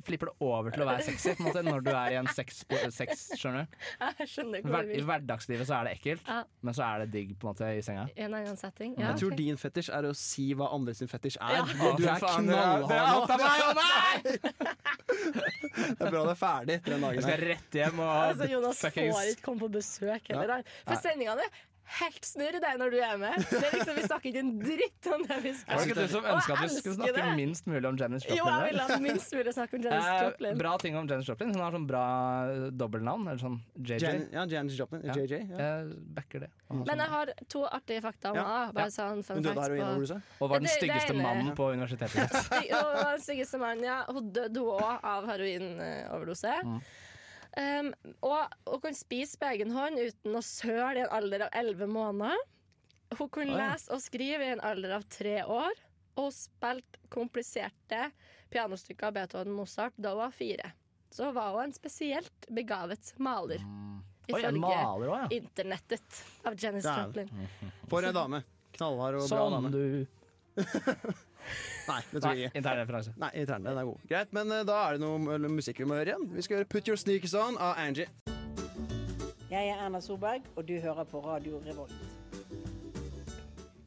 flipper det over til å være sexy på en måte, når du er i en sex, sex skjønner du.
Jeg skjønner ikke
Hver,
hvor du
I
vil.
hverdagslivet så er det ekkelt,
Ja.
men så er det digg på en måte i senga.
I en annen setting. Ja,
Jeg tror
ok.
din fetisj er å si hva andre sin fetisj er.
Ja.
Du er knallhard nå. Det er bra det er ferdig etter den
Jeg
dagen
skal
her.
rett hjem og
Altså, Jonas
Ah, fuckings-
får ikke komme på besøk heller. han. For
Nei.
sendingene er helt snurr det når du er med. Det er liksom, vi snakker ikke en dritt om det
Var
vi
det
skal.
ikke du som
Og jeg
ønska at vi
elsker
skulle snakke
det.
minst mulig om Janis
Jo,
Joplin?
jeg
i
vil
dag?
ha minst mulig snakk om Janis
Eh,
Joplin.
bra ting om Janis Joplin. Hun har sånn bra dobbeltnavn, eller sånn JJ.
Jan, ja, Janis Joplin.
Ja.
JJ. Ja.
Jeg backer det.
Men jeg har to artige fakta om
Ja.
A. Bare sånn fun
Hun døde av
facts
heroin,
på
var det du sa?
Og var den
Det- det eh,
styggeste
ene-
mannen på universitetet.
Stig- Hun var den styggeste mannen, ja. Hun døde hun òg av heroinoverdose.
Mm.
Um, og hun kunne spise på egen hånd uten å søle i en alder av elleve måneder. Hun kunne
Oi.
lese og skrive i en alder av tre år. Og hun spilte kompliserte pianostykker av Beethoven og Mozart da hun var fire. Så hun var hun en spesielt begavet maler,
Mm. Oi, en
ifølge
maler òg, ja.
internettet av Janis
Der.
Joplin.
For ei dame. Knallhard og bra
Som
dame.
Sånn du
Nei, det tror
Nei,
jeg ikke.
intern referanse.
Nei, interne, den er god. Greit, men eh, da er det noe m- musikk vi må høre igjen. Vi skal høre Put Your Sneakers On av Angie.
Jeg er Erna Solberg, og du hører på Radio Revolt.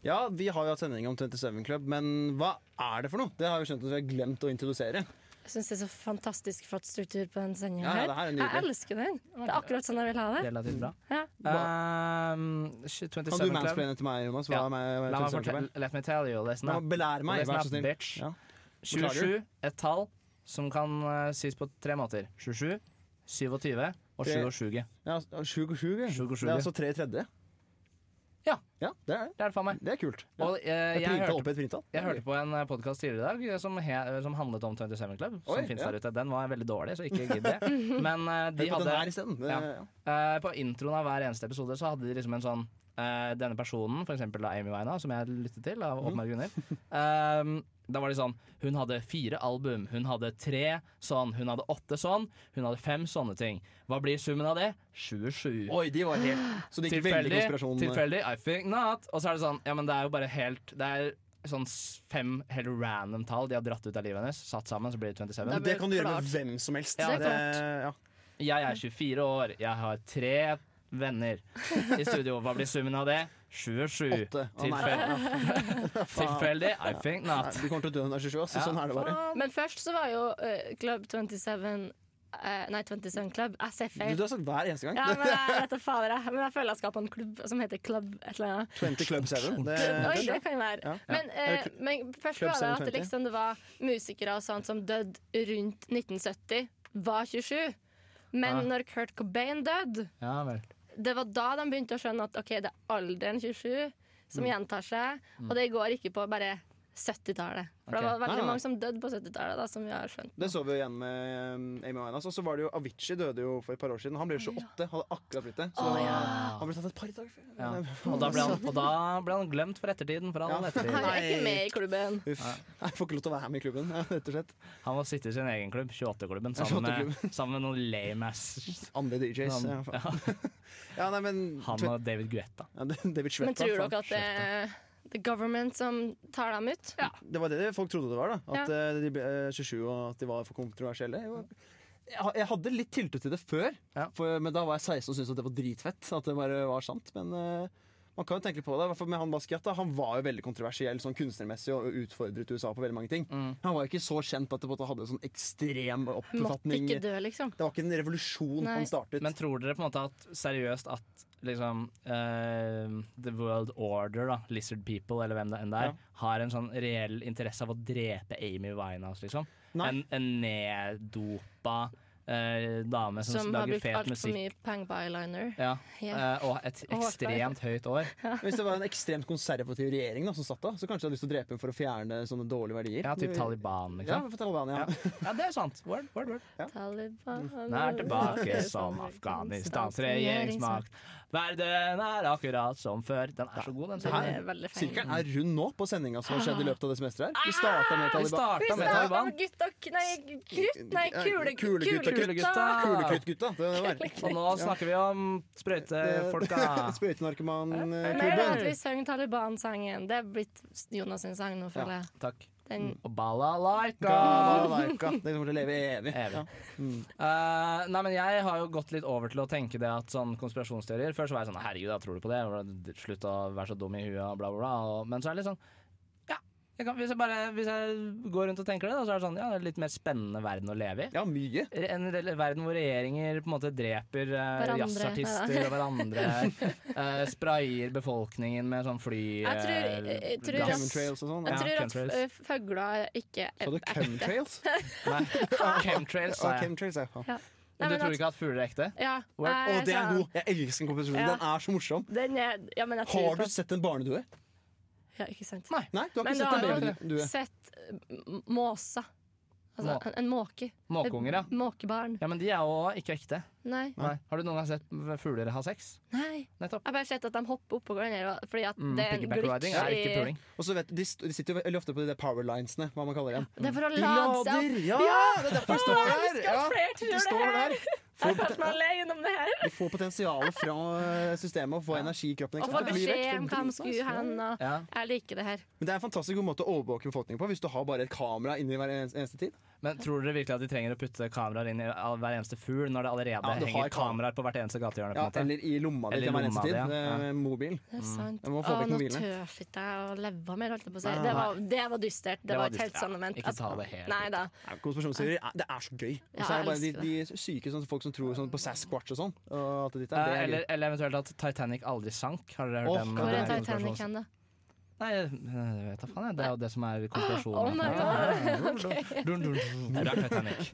Ja, vi har jo hatt sending om 27 Club, men hva er det for noe? Det har vi skjønt at vi har glemt å introdusere.
Jeg syns det er så fantastisk flott struktur på den sendinga
Ja, ja, det her
her.
er nydelig.
Jeg elsker den. Det er akkurat sånn jeg vil ha det.
Relativt bra.
Ja.
Um,
Kan
27
du
Club.
mansplaine til meg, Jonas? Hva
Ja.
er meg,
La meg
27 Club?
fortelle, let me tell you, listen
Nå,
up.
belær meg,
Og listen
vær
up,
så snill.
bitch.
Ja. Beklager.
27, et tall som kan eh, sies på tre måter. 27, 27 og
Det-
27.
Ja, 27, ja.
Sjuk og sjuk,
Det
ja.
er altså tre i tredje.
Ja.
ja det er det.
Det er det faen meg.
Det er kult. Ja.
Og eh,
jeg
jeg,
printa opp
hørte,
et printtall.
jeg hørte på en podkast tidligere i dag eh, som, he, som handlet om 27 Club, som
Oi,
finnes
ja.
der ute. Den var veldig dårlig, så ikke gidd det. Men eh, de
Hør på den
hadde
her isteden. Det-
Ja.
ja.
Eh, på introen av hver eneste episode så hadde de liksom en sånn eh, Denne personen, for eksempel da Amy Wina, som jeg lyttet til av
Mhm.
åpenbare grunner. ehm, da var de sånn Hun hadde fire album, hun hadde tre sånn, hun hadde åtte sånn, hun hadde fem sånne ting. Hva blir summen av det? 27.
Oi, de var helt Så det gikk veldig
Tilfeldig?
eh. konspirasjon.
Tilfeldig? I think not. Og så er det sånn Ja, men det er jo bare helt Det er sånn s- fem helt random tall de har dratt ut av livet hennes, satt sammen, så blir det 27.
Men det kan du gjøre med
Klart.
hvem som helst.
Ja, det er
ja.
Jeg er 24 år, jeg har tre venner i studio. Hva blir summen av det? 27.
Åtte. Å, nei.
Tilfell tilfeldig? I think
Nei,
not.
Du kommer til å dø når du er 27, ass.
Ja.
Sånn er det bare.
Men først så var jo eh, Club 27 eh, Nei, 27 Club. Jeg sier
Du, du
feil.
har sagt hver eneste gang.
Ja, men jeg vet da fader, jeg. Men jeg føler jeg skal på en klubb som heter Club et eller annet.
20 Club 7. Det,
Oi,
det,
det kan jo være.
Eh, Ja.
Men, eh, men først
Club
var det at
720.
det liksom det var musikere og sånt som døde rundt 1970, var 27. Men
Ah.
Ja.
når Kurt Cobain døde,
Ja vel.
det var da de begynte å skjønne at ok, det er alderen 27
Mm.
som gjentar seg, og det går ikke på bare 70-tallet. For det
Ok. Ah,
Nei,
var veldig
nei.
mange som døde på 70-tallet, da, som vi har skjønt.
det så vi jo igjen med um, Amy Winehouse. Og så var det jo Avicii døde jo for et par år siden. Han ble 28, hadde akkurat blitt det. Så han ble tatt et par dager før.
Ja. Og, da ble han, og da ble han glemt for ettertiden. For all
Ja.
ettertid.
Han er
Nei.
ikke med i klubben.
Uff. Jeg får ikke lov til å være med i klubben, ja, rett og slett.
Han må sitte i sin egen klubb, 28-klubben, sammen, med- sammen med noen lame ass.
Andre DJs. Ja,
Han,
faen.
ja,
ja, nei, men,
han og David Guetta.
ja, David Shweta,
Men tror
faen.
dere at det er the government som tar dem ut? Ja.
Det var det folk trodde det var, da. At eh, de ble eh, 27 og at de var for kontroversielle. Jo, Jeg, ha- jeg hadde litt tiltro til det før,
Ja.
for, men da var jeg 16 og syntes at det var dritfett. At det bare var sant. Men eh, man kan jo tenke litt på det. I hvert fall med han Basquiat, da. Han var jo veldig kontroversiell sånn kunstnermessig og utfordret USA på veldig mange ting.
Mm.
Han var jo ikke så kjent at det på en måte hadde en sånn ekstrem
Måtte
oppfatning.
ikke dø, liksom.
Det var ikke en revolusjon
Nei.
han startet.
Men tror dere på en måte at seriøst at liksom eh, The World Order, da, Lizard People eller hvem det enn det er,
Ja.
har en sånn reell interesse av å drepe Amy Winehouse, liksom?
Nei.
En, en neddopa eh, dame som,
Som har
lager
brukt
fet
altfor
musikk.
mye penger på eyeliner.
Ja.
Ja.
eh, og et
Og
ekstremt høyt år.
Hvis det var en ekstremt konservativ regjering da, som satt da, så kanskje de hadde lyst til å drepe henne for å fjerne sånne dårlige verdier.
Ja, typ Taliban,
Ja,
liksom.
for Taliban, ja.
Ja. Ja, det er sant. Word, word, word.
Taliban
Mm. Nå er tilbake som
sånn
Afghanistans regjeringsmakt. Verden er akkurat som før. Den er så god, den
Den
sangen.
er veldig feil. Ah.
Sirkelen er rund nå på sendinga som har skjedd i løpet av det semesteret. her. Vi starta med
Vi
Taliban.
starta med
Hvis det er
Taliban.
gutt og k- Nei, krutt, nei, kule,
Kulegutt og
Kulegutta!
Kulekruttgutta. Det er det det
Og nå snakker vi om sprøytefolka.
var.
Mer da
Sprøytenarkomanklubben.
at vi sang Taliban-sangen. Det er blitt Jonas sin sang nå, føler jeg.
Takk.
Den,
Mm.
Og balalaika!
Balalaika. Den kommer til å leve evig.
Evig.
Ja. Mm.
Eh, nei, men jeg har jo gått litt over til å tenke det at sånn konspirasjonsteorier Før så var jeg sånn herregud, da tror du på det? Slutt å være så dum i huet og bla, bla, bla. Og, men så er det litt sånn ja, jeg kan, hvis, jeg bare, hvis jeg går rundt og tenker det, da, så er det sånn ja, det er litt mer spennende verden å leve i.
ja, mye.
En rel- verden hvor regjeringer på en måte dreper eh,
Hverandre,
jazzartister og hverandre. eh, sprayer befolkningen med sånn fly...
Jeg tror-
eh,
jeg tror-
gass.
Chemtrails og sånn.
Ja,
jeg
Ja.
tror at
chemtrails.
eh, fugler ikke
Sa
er
du
ekte.
chemtrails?
Nei, chemtrails, sa
Ja,
jeg.
chemtrails, ja. Å,
Nei,
Men du
men
tror
at-
ikke at fugler er ekte?
Ja,
Word.
nei, jeg
det er
sa-
god! Jeg elsker den komposisjonen.
Ja.
Den er så morsom.
Den er, ja, men jeg tror
Har
på
du sett en barnedue?
Ja, ikke sant.
Nei.
Nei, du har
Men
ikke
du
sett en
har jo-
babydue.
Sett eh, m- måsa. Altså,
Må-
en, en måke.
Måkeunger, ja.
Et Måkebarn.
Ja, men de er jo ikke ekte.
Nei.
Nei. Har du noen gang sett fugler ha sex?
Nei.
Nettopp.
Jeg har bare sett at de hopper oppå hverandre. og- Fordi at
Mm,
det er en
piggyback riding er ikke
glitch i
puling.
Og så vet, de, st- de sitter jo veldig ofte på de der power linesene, hva man kaller dem.
Det er for å
De
lade seg opp.
Mm.
Ah!
lader! Ja! Det er derfor de står
jeg
der!
elsker at
Ja,
flere tror
de
det
står
her.
der.
Jeg
Får,
følte meg
poten-
alene om det her.
de får potensialet fra eh, systemet og får energi i kroppen. ikke
Å få
sant? Liksom, Det blir
beskjed
vekk. sånn
om hva de skulle hen. og-
Ja.
Jeg liker det her.
Men det er en fantastisk god måte å overvåke befolkningen på hvis du har bare et kamera inni hver en- eneste tid.
Men tror dere virkelig at de trenger å putte kameraer inn i all- hver eneste fugl, når det allerede
Ja, du har
henger
kam-
kameraer på hvert eneste gatehjørne?
Ja,
på en måte?
eller i lomma di
Eller
til hver
lomma
eneste
di,
tid.
ja.
Det er Mobil.
Det er sant.
Jeg må få
Å,
vekk
nå
mobilen.
tørte ikke jeg å leve mer, holdt jeg på å si.
Ah.
Det var, det var dystert. Det,
Det var
var et helt
dystert, ja.
sånn moment.
Ikke ta det helt
Nei da.
Ja, Konspirasjonsteorier, er- det er så gøy. Og
Ja,
så er
jeg
det bare de,
elsker
de syke sånn, folk som tror sånn, på Sasquatch og sånn. Og alt det ditt der.
Eh,
Det er
eller,
gøy.
eller eventuelt at Titanic aldri sank. Har dere hørt
Åh,
den?
Ja,
Hvor
det
er
er
konspirasjons-
Titanic hen, da?
Nei, jeg vet da faen. jeg. Det er jo det som er konspirasjonen.
Oh my
Dun, dun, dun. Det er Titanic.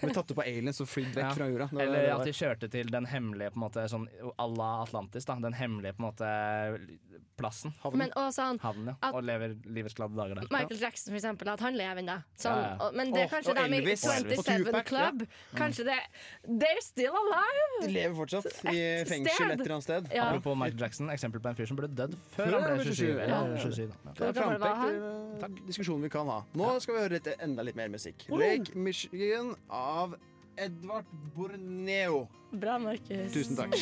Ble tatt opp av aliens og flydd vekk
Ja.
fra jorda. Det var-
Eller
det var-
at de kjørte til den hemmelige på en måte, sånn à la Atlantis. da Den hemmelige på en måte plassen.
Men også sånn
Havnen, ja.
At-
Og lever livets glade dager der.
Michael Jackson, for eksempel, at han lever ennå. Sånn,
Ja, ja.
og- Men det er
Åh,
kanskje
og
dem i
Elvis. Og Elvis.
27
Og Tupac, ja.
Club. Kanskje det They're still alive!
De lever fortsatt i
Et
fengsel
sted.
et eller annet sted.
Ja.
Apropos Michael Jackson, eksempel på en fyr som ble dødd før
Før
han
han
ble
ble
27. Ja,
27, ja, ja.
27 da.
Det er
Hvor gammel
frampekt
var han?
til eh, diskusjonen vi kan ha. Nå skal vi høre litt, eh, enda litt mer musikk. Lake Michigan av Edvard Borneo.
Bra, Markus.
Tusen takk.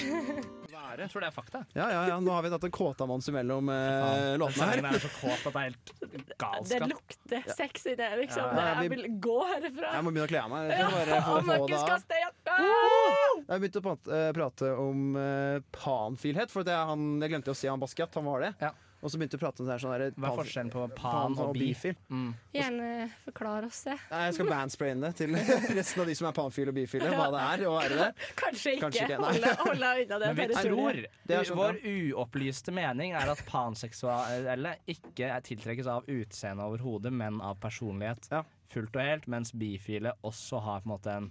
Jeg tror det er fakta.
Ja, ja, ja. Nå har vi tatt en kåtamanns imellom eh, låtene her.
Sangen er så kåt at det er helt
Det
galskap.
lukter sex i det, liksom.
Ja.
Det-
Nei,
Jeg
vi-
vil gå herfra.
Jeg må begynne å kle av meg. Jeg skal bare få,
Og
få det
Markus
av.
kaster jakka!
Jeg har begynt å pat- eh, prate om eh, panfilhet, for det er han, jeg glemte å si han Basquiat. Han var det.
Ja.
Og så begynte jeg å prate om det her sånn der,
Hva er
panf-
forskjellen på pan og beef?
bifil.
Mm.
Gjerne forklar oss det.
Nei, jeg skal mansplaine det til resten av de som er panfile og bifile, hva det er. og er det det.
Kanskje ikke.
Kanskje ikke, nei.
Holde, holde unna det
Men vi
territoriet.
tror
Det er sånn,
Vår uopplyste mening er at panseksuelle ikke er tiltrekkes av utseende overhodet, men av personlighet.
Ja.
Fullt og helt, mens bifile også har på en måte en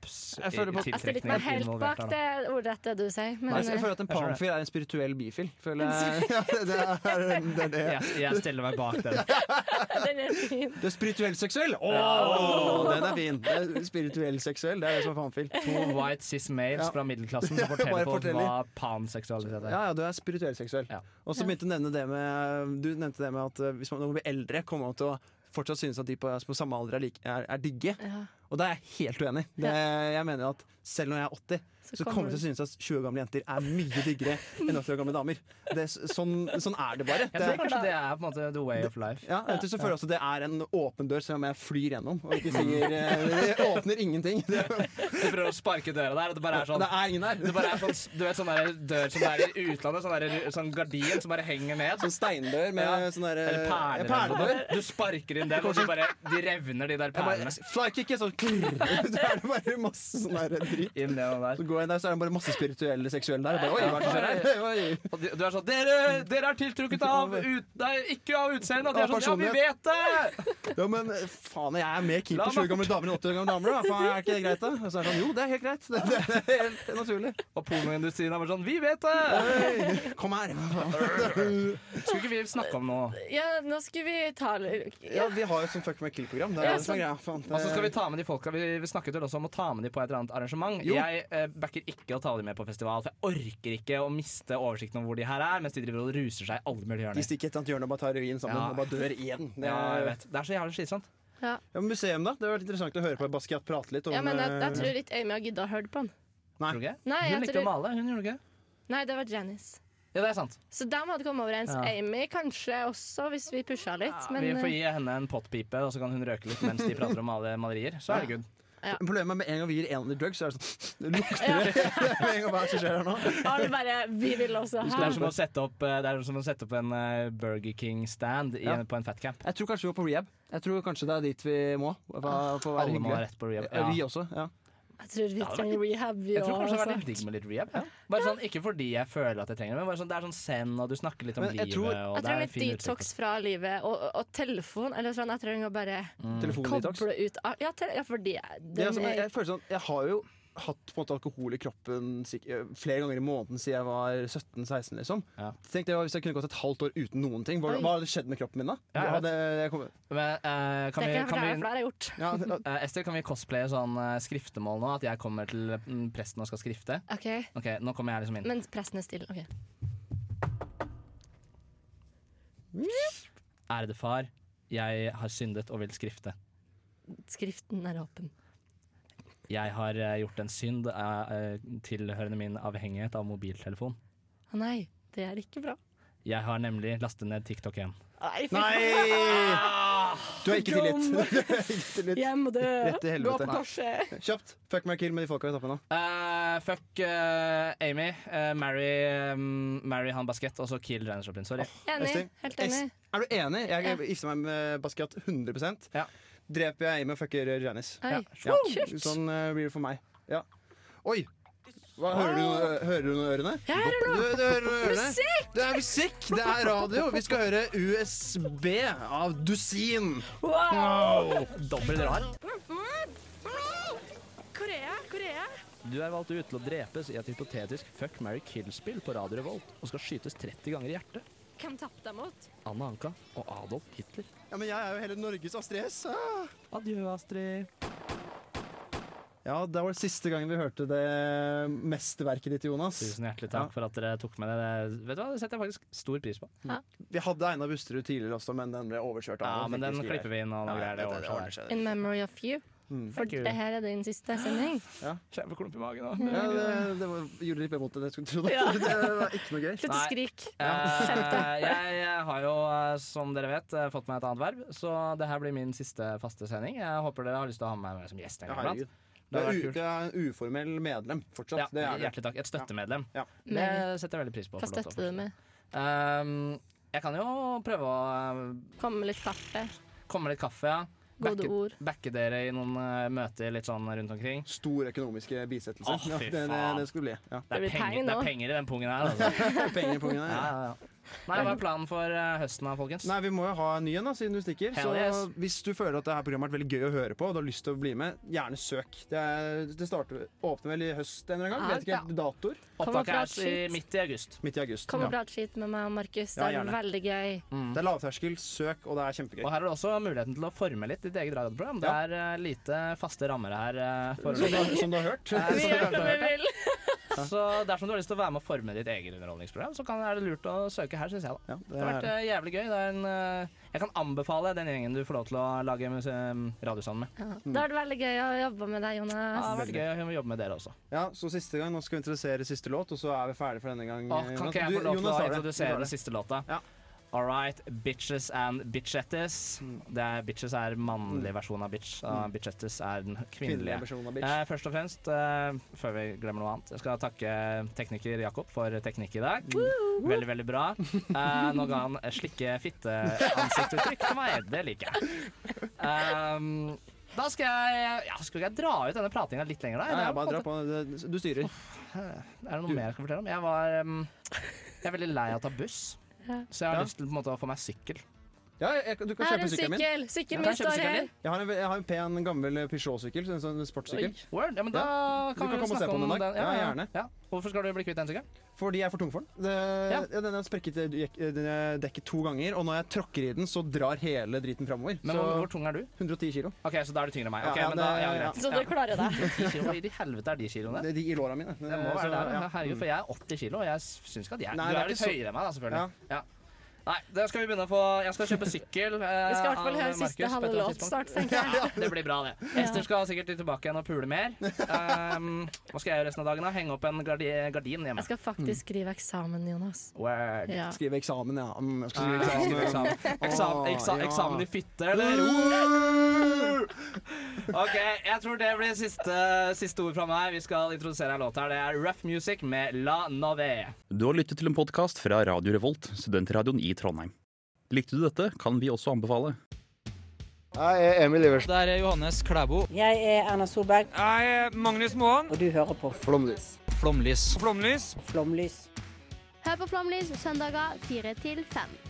Jeg føler på-
Jeg stiller ikke meg
kroppstiltrekning
helt bak det ordrette du sier, men eh,
Nei, så jeg føler at en
Jeg skjønner
panfil er en spirituell bifil. Føler jeg. Ja, det, er, det er det.
Jeg, jeg stiller meg bak den.
eh, den er fin.
Du er spirituell seksuell! Åh, den er fin! Det er spirituell seksuell, det er det som er panfil.
To white cis males
Ja.
fra middelklassen
Ja,
som forteller
bare
folk
forteller.
hva panseksualitet er.
Ja, ja, du er spirituell seksuell.
Ja.
Og så begynte du å nevne det med Du nevnte det med at eh, hvis man, når man blir eldre, kommer man til å fortsatt synes at de på, som på samme alder er, like, er, er digge.
Ja.
Og da er jeg helt uenig. Det, jeg mener at selv når jeg er 80,
Så
så,
kommer
kommer jeg
du-
til å synes at 20 år gamle jenter er mye diggere enn 80 år gamle damer. Det, sånn, sånn er det bare.
Jeg tror
Det,
kanskje det er på en måte the way of life.
ja, vet du, så føler jeg også at det er en åpen dør, selv om jeg flyr gjennom. Og ikke sier, eh, det åpner ingenting. Det,
Du prøver å sparke døra der, og det bare er sånn
det er ingen der.
det bare er sånn, du vet sånn der dør som er i utlandet, sånn, der, sånn gardin som bare henger ned.
Sånn steindør med
Ja.
sånn der,
Eller
eh,
perler.
ja, perledør.
eller noe. Du sparker inn den, og så bare de revner, de der
Jeg
perlene.
bare Flykicket, så klirr. Så er det bare masse sånn der dritt.
Inn gjennom
Så
der.
går jeg inn der, så er det bare masse spirituelle seksuelle der. Og bare, Oi, hva er det som skjer her? Oi.
Og de, du er sånn Dere, dere er tiltrukket av ut, nei, ikke av utseendet! Og de er sånn Ja, vi vet det!
Ja, men eh, faen, jeg er mer keen
La
på
meg
20 år gamle damer enn 80 år gamle damer. Da. Faen, er ikke det greit, da? Og så er det sånn, jo, det er helt greit. Det, det er helt naturlig.
Og pornoindustrien er bare sånn Vi vet det!
Oi, kom her.
Skulle ikke vi snakke om noe?
Ja, nå skulle vi ta litt-
Ja,
ja.
vi har jo et sånt fuck med kill-program. Det er
Ja,
det som er greia. Faen, det-
Og så skal vi ta med de folka Vi, vi snakket vel også om å ta med de på et eller annet arrangement.
Jo.
Jeg eh, backer ikke å ta de med på festival, for jeg orker ikke å miste oversikten over hvor de her er, mens de driver og ruser seg i alle mulige
De
hjørner.
stikker et eller annet hjørne og bare tar ruin sammen
Ja.
og bare dør igjen. Det
Ja, jeg
er,
vet. Det er så jævlig slitsomt.
Ja.
Ja, men museum, da? Det hadde vært interessant å høre på Basquiat prate litt. Om,
Ja, men jeg, jeg
eh,
tror ikke Amy har gidda å høre på han.
Nei.
Tror du ikke?
Nei,
hun
jeg
likte
tror-
å male, hun gjorde ikke det?
Nei, det var Janice.
Ja, det er sant.
Så de hadde kommet overens.
Ja.
Amy kanskje også, hvis vi pusha litt. Men
Vi får
eh,
gi henne en pottpipe, og så kan hun røke litt mens de prater om male malerier. Så er det good.
Men Problemet er med en gang vi gir en drugs, så er det sånn Det lukter det med en gang hva er det som skjer her nå.
alle bare Vi vil også
Det
ha.
er som å sette opp, eh, det er som å sette opp en eh, Burger King-stand i-
Ja.
på en fatcap.
Jeg tror kanskje vi må på rehab. Jeg tror kanskje det er dit vi må. For, for å være
Alle må ha
hyggelige.
rett på rehab.
Ja. Vi
Ja.
også. ja
Jeg tror vi
hadde
trenger rehab, vi
Jeg tror kanskje det hadde vært
òg.
litt digg med litt rehab. Ja. Bare sånn, Ikke fordi jeg føler at jeg trenger det, men bare sånn, det er sånn zen, og du snakker litt om
Men jeg
livet.
tror-
og det er
Jeg
altså.
trenger litt
fin utsikt.
detox fra livet og, og, og telefon. Eller sånn, jeg trenger å bare
Mm.
Mm. Telefondetox.
koble ut av- Ja, te ja fordi den
Det er altså, men
er-
jeg, føler sånn, jeg har jo hatt på en måte alkohol i kroppen sikk- eh, flere ganger i måneden siden jeg var 17-16. Liksom.
Ja.
Tenk det, hvis jeg kunne gått et halvt år uten noen ting, hva,
Oi.
hva hadde skjedd med kroppen min da?
Ja, jeg
Hva hadde jeg kommet-
Men, eh,
Det
kan vi,
er ikke
kan
jeg
vi,
for det har jeg gjort.
ja, det-
eh, Ester, kan vi cosplaye sånn eh, skriftemål nå? At jeg kommer til mm, presten og skal skrifte?
Ok,
Ok, nå kommer jeg liksom inn.
Men presten er stille. ok.
Ærede far, jeg har syndet og vil skrifte.
Skriften er åpen.
Jeg har eh, gjort en synd eh, eh, tilhørende min avhengighet av mobiltelefon.
Å Ah, nei, det er ikke bra.
Jeg har nemlig lastet ned TikTok igjen.
Nei, fy
Nei! Du har ikke tillit. Du har ikke
faen,
tillit.
jeg må dø!
Rett i helvete.
Gå på korset.
Kjapt. Fuck meg kill med de folka i toppen. da.
Eh, fuck eh, Amy. eh, marry, mm, marry han Basket, og så kill Janis Joplin. Sorry.
Enig.
Ester,
Helt enig.
Est- Er du enig? Jeg
Ja.
gifter meg med Basquiat 100
Ja.
Dreper jeg Amy og fucker Janice.
Oi.
Ja.
Kult.
Sånn eh, blir det for meg. Ja. Oi! Hva, hører, du noe, hører du noe i ørene?
Jeg hører
Du,
noe!
du hører noe i ørene?
Musikk!
Det er musikk! Det er radio! Vi skal høre USB av Dusin.
Wow!
Dobbel rar.
Korea, Korea.
Du er valgt ut til å drepes i et hypotetisk Fuck, marry, kill-spill på Radio Revolt og skal skytes 30 ganger i hjertet.
Hvem tapte jeg mot?
Anna Anka og Adolf Hitler.
Ja, men jeg er jo hele Norges Astrid S. ah.
Adjø, Astrid.
Ja, det var siste gangen vi hørte det mesterverket ditt, Jonas.
Tusen hjertelig takk
Ja.
for at dere tok med det. det. Vet du hva, Det setter jeg faktisk stor pris på.
Vi hadde Einar Busterud tidligere også, men den ble overkjørt.
Ja, men den klipper vi inn. og noe greier, det ordner seg.
In memory of you.
Mm.
For
Thank you.
det her er din siste sending.
Kjempeklump i magen.
Ja, det, det var, gjorde litt mer vondt enn jeg skulle tro. Det, det var ikke noe gøy.
Slutt å
Nei.
skrike.
Eh, jeg har jo, eh, som dere vet, eh, fått meg et annet verv, så det her blir min siste faste sending. Jeg håper dere har lyst til å ha med meg som gjest. en
Ja,
gang iblant.
herregud.
Det
Du er,
hadde vært
u,
kult.
du er en uformell medlem fortsatt.
Ja,
det er det.
hjertelig takk. Et støttemedlem.
Ja.
Det setter jeg veldig pris på. å
Hva
få lov til å
støtter du med?
Um, jeg kan jo prøve å uh,
Kom med litt kaffe.
komme med litt kaffe. Ja.
Gode
Backe-
ord.
Backe dere i noen uh, møter litt sånn rundt omkring.
Stor økonomiske bisettelse.
Å, fy
Ja, det, det,
faen.
det skulle bli. Ja.
Det er,
blir
penger,
penger
det
nå.
er penger i den pungen her, altså.
Penger på gangen,
Ja,
ja.
ja, ja. Nei, hva er planen for uh, høsten da, folkens?
Nei, Vi må jo ha en ny en, da, siden du stikker.
Hell
Så
yes.
hvis du føler at det her programmet har vært veldig gøy å høre på, og du har lyst til å bli med, gjerne søk. Det, er, det starter, åpner vel i høst en eller annen gang.
Ja,
Vet ikke helt datoer.
Kom og
Opptaket er
prat
i
skit.
midt i august.
Midt i august.
Kom og
Ja.
prat skit med meg og Markus. Det
Ja,
er
gjerne.
veldig gøy.
Det er lavterskel, søk, og det er kjempegøy.
Og her er det også muligheten til å forme litt ditt eget radioprogram. Det
Ja.
er uh, lite faste rammer her. Uh,
Som du,
foreløpig.
har- som du har hørt.
Eh,
Vi
så-
gjør som vi vil.
så dersom du har lyst til å være med å forme ditt eget underholdningsprogram, så kan, er det lurt å søke her, syns jeg. da
Ja,
Det
det
har
er,
vært eh, jævlig gøy. Det er en, eh, jeg kan anbefale den gjengen du får lov til å lage muse- radio sammen med.
Ja.
Hmm.
Det har vært veldig gøy å jobbe med deg,
Ja, det
Jonas.
har vært gøy å jobbe med dere også.
ja, så siste gang, Nå skal vi introdusere siste låt, og så er vi ferdige for denne gang.
Åh, kan
Jonas.
ikke jeg
Du-
få lov til å
Jonas tar det. Du
introdusere
tar
den
det.
siste låta?
Ja.
All right, bitches and bitchettes.
Mm.
Det er, bitches er mannlig versjon av bitch, og bitchettes er den
Kvinnelig
kvinnelige.
versjon av bitch.
Eh, først og fremst, eh, før vi glemmer noe annet, jeg skal takke tekniker Jakob for teknikk i dag. Veldig, veldig bra. Eh, nå ga han slikke fitte-ansiktsuttrykk til meg. Det liker jeg. Ehm, da skal jeg ja, Skal ikke jeg dra ut denne pratinga litt lenger, da? Det
Ja, ja,
er på en
bare dra
måte-
på. Du styrer.
er det noe mer jeg skal fortelle om? Jeg var ehm, Jeg er veldig lei av å ta buss.
Ja.
Så jeg har
Ja.
lyst til på en måte, å få meg sykkel.
Ja, jeg, du kan
Her er
kjøpe
en
sykkelen min.
sykkel.
Ja,
Sykkelen min
kan jeg kjøpe
står
sykkelen
her.
din?
Jeg har en, jeg har en pen, gammel eh, Peugeot-sykkel. En sånn sportssykkel.
Word? Ja, men da
Du
kan vi
kan
jo
komme og se
snakke
på
om
den en
den.
dag. Ja, gjerne.
Ja. Hvorfor skal du bli kvitt den sykkelen?
Fordi jeg er for tung for den. Det, ja.
Ja.
den har sprekket eh, jek- eh, den er dekket to ganger, og når jeg tråkker i den, så drar hele driten framover.
Men
Så
hvor- hvor tung er du?
110 kilo.
OK, så da er du tyngre enn meg.
Ja,
Ok,
ja,
men da,
det-
ja,
ja.
greit.
Så du klarer deg.
10 kilo, Hvor i de helvete er de kiloene?
Det er de i låra mine.
Det må
Så,
være der, ja.
ja.
Herregud, for jeg er 80 kilo, og jeg syns ikke at jeg
Nei,
Du
det
er
er
litt
ikke så-
høyere enn meg, da, selvfølgelig. Ja. Nei, det skal vi begynne på. Jeg skal kjøpe sykkel. eh,
Vi skal i hvert fall høre siste halve låt snart, tenker jeg.
Ja, det blir bra, det. Ester skal sikkert tilbake igjen og pule mer. Ehm, hva skal jeg gjøre resten av dagen? da? Henge opp en gardi gardin hjemme.
Jeg skal faktisk skrive eksamen, Jonas.
Word.
Ja.
Skrive eksamen, ja. Mm, jeg skal skrive
Eh,
eksamen.
Eksamen, eksamen,
Å,
eksa,
ja.
eksamen i fitte, eller? OK, jeg tror det blir siste, siste ord fra meg. Vi skal introdusere en låt her. Det er Rough Music med La Nove.
Du har lyttet til en podkast fra Radio Revolt, studentradioen i Trondheim. Likte du dette, kan vi også anbefale.
Jeg er Emil Iversen
Der er Johannes Klæbo.
Jeg er Erna Solberg,
Jeg er Magnus Moan.
og du hører på
Flomlys.
Flomlys.
Flomlys.
Flomlys.
Hør på Flomlys søndager 4 til 5.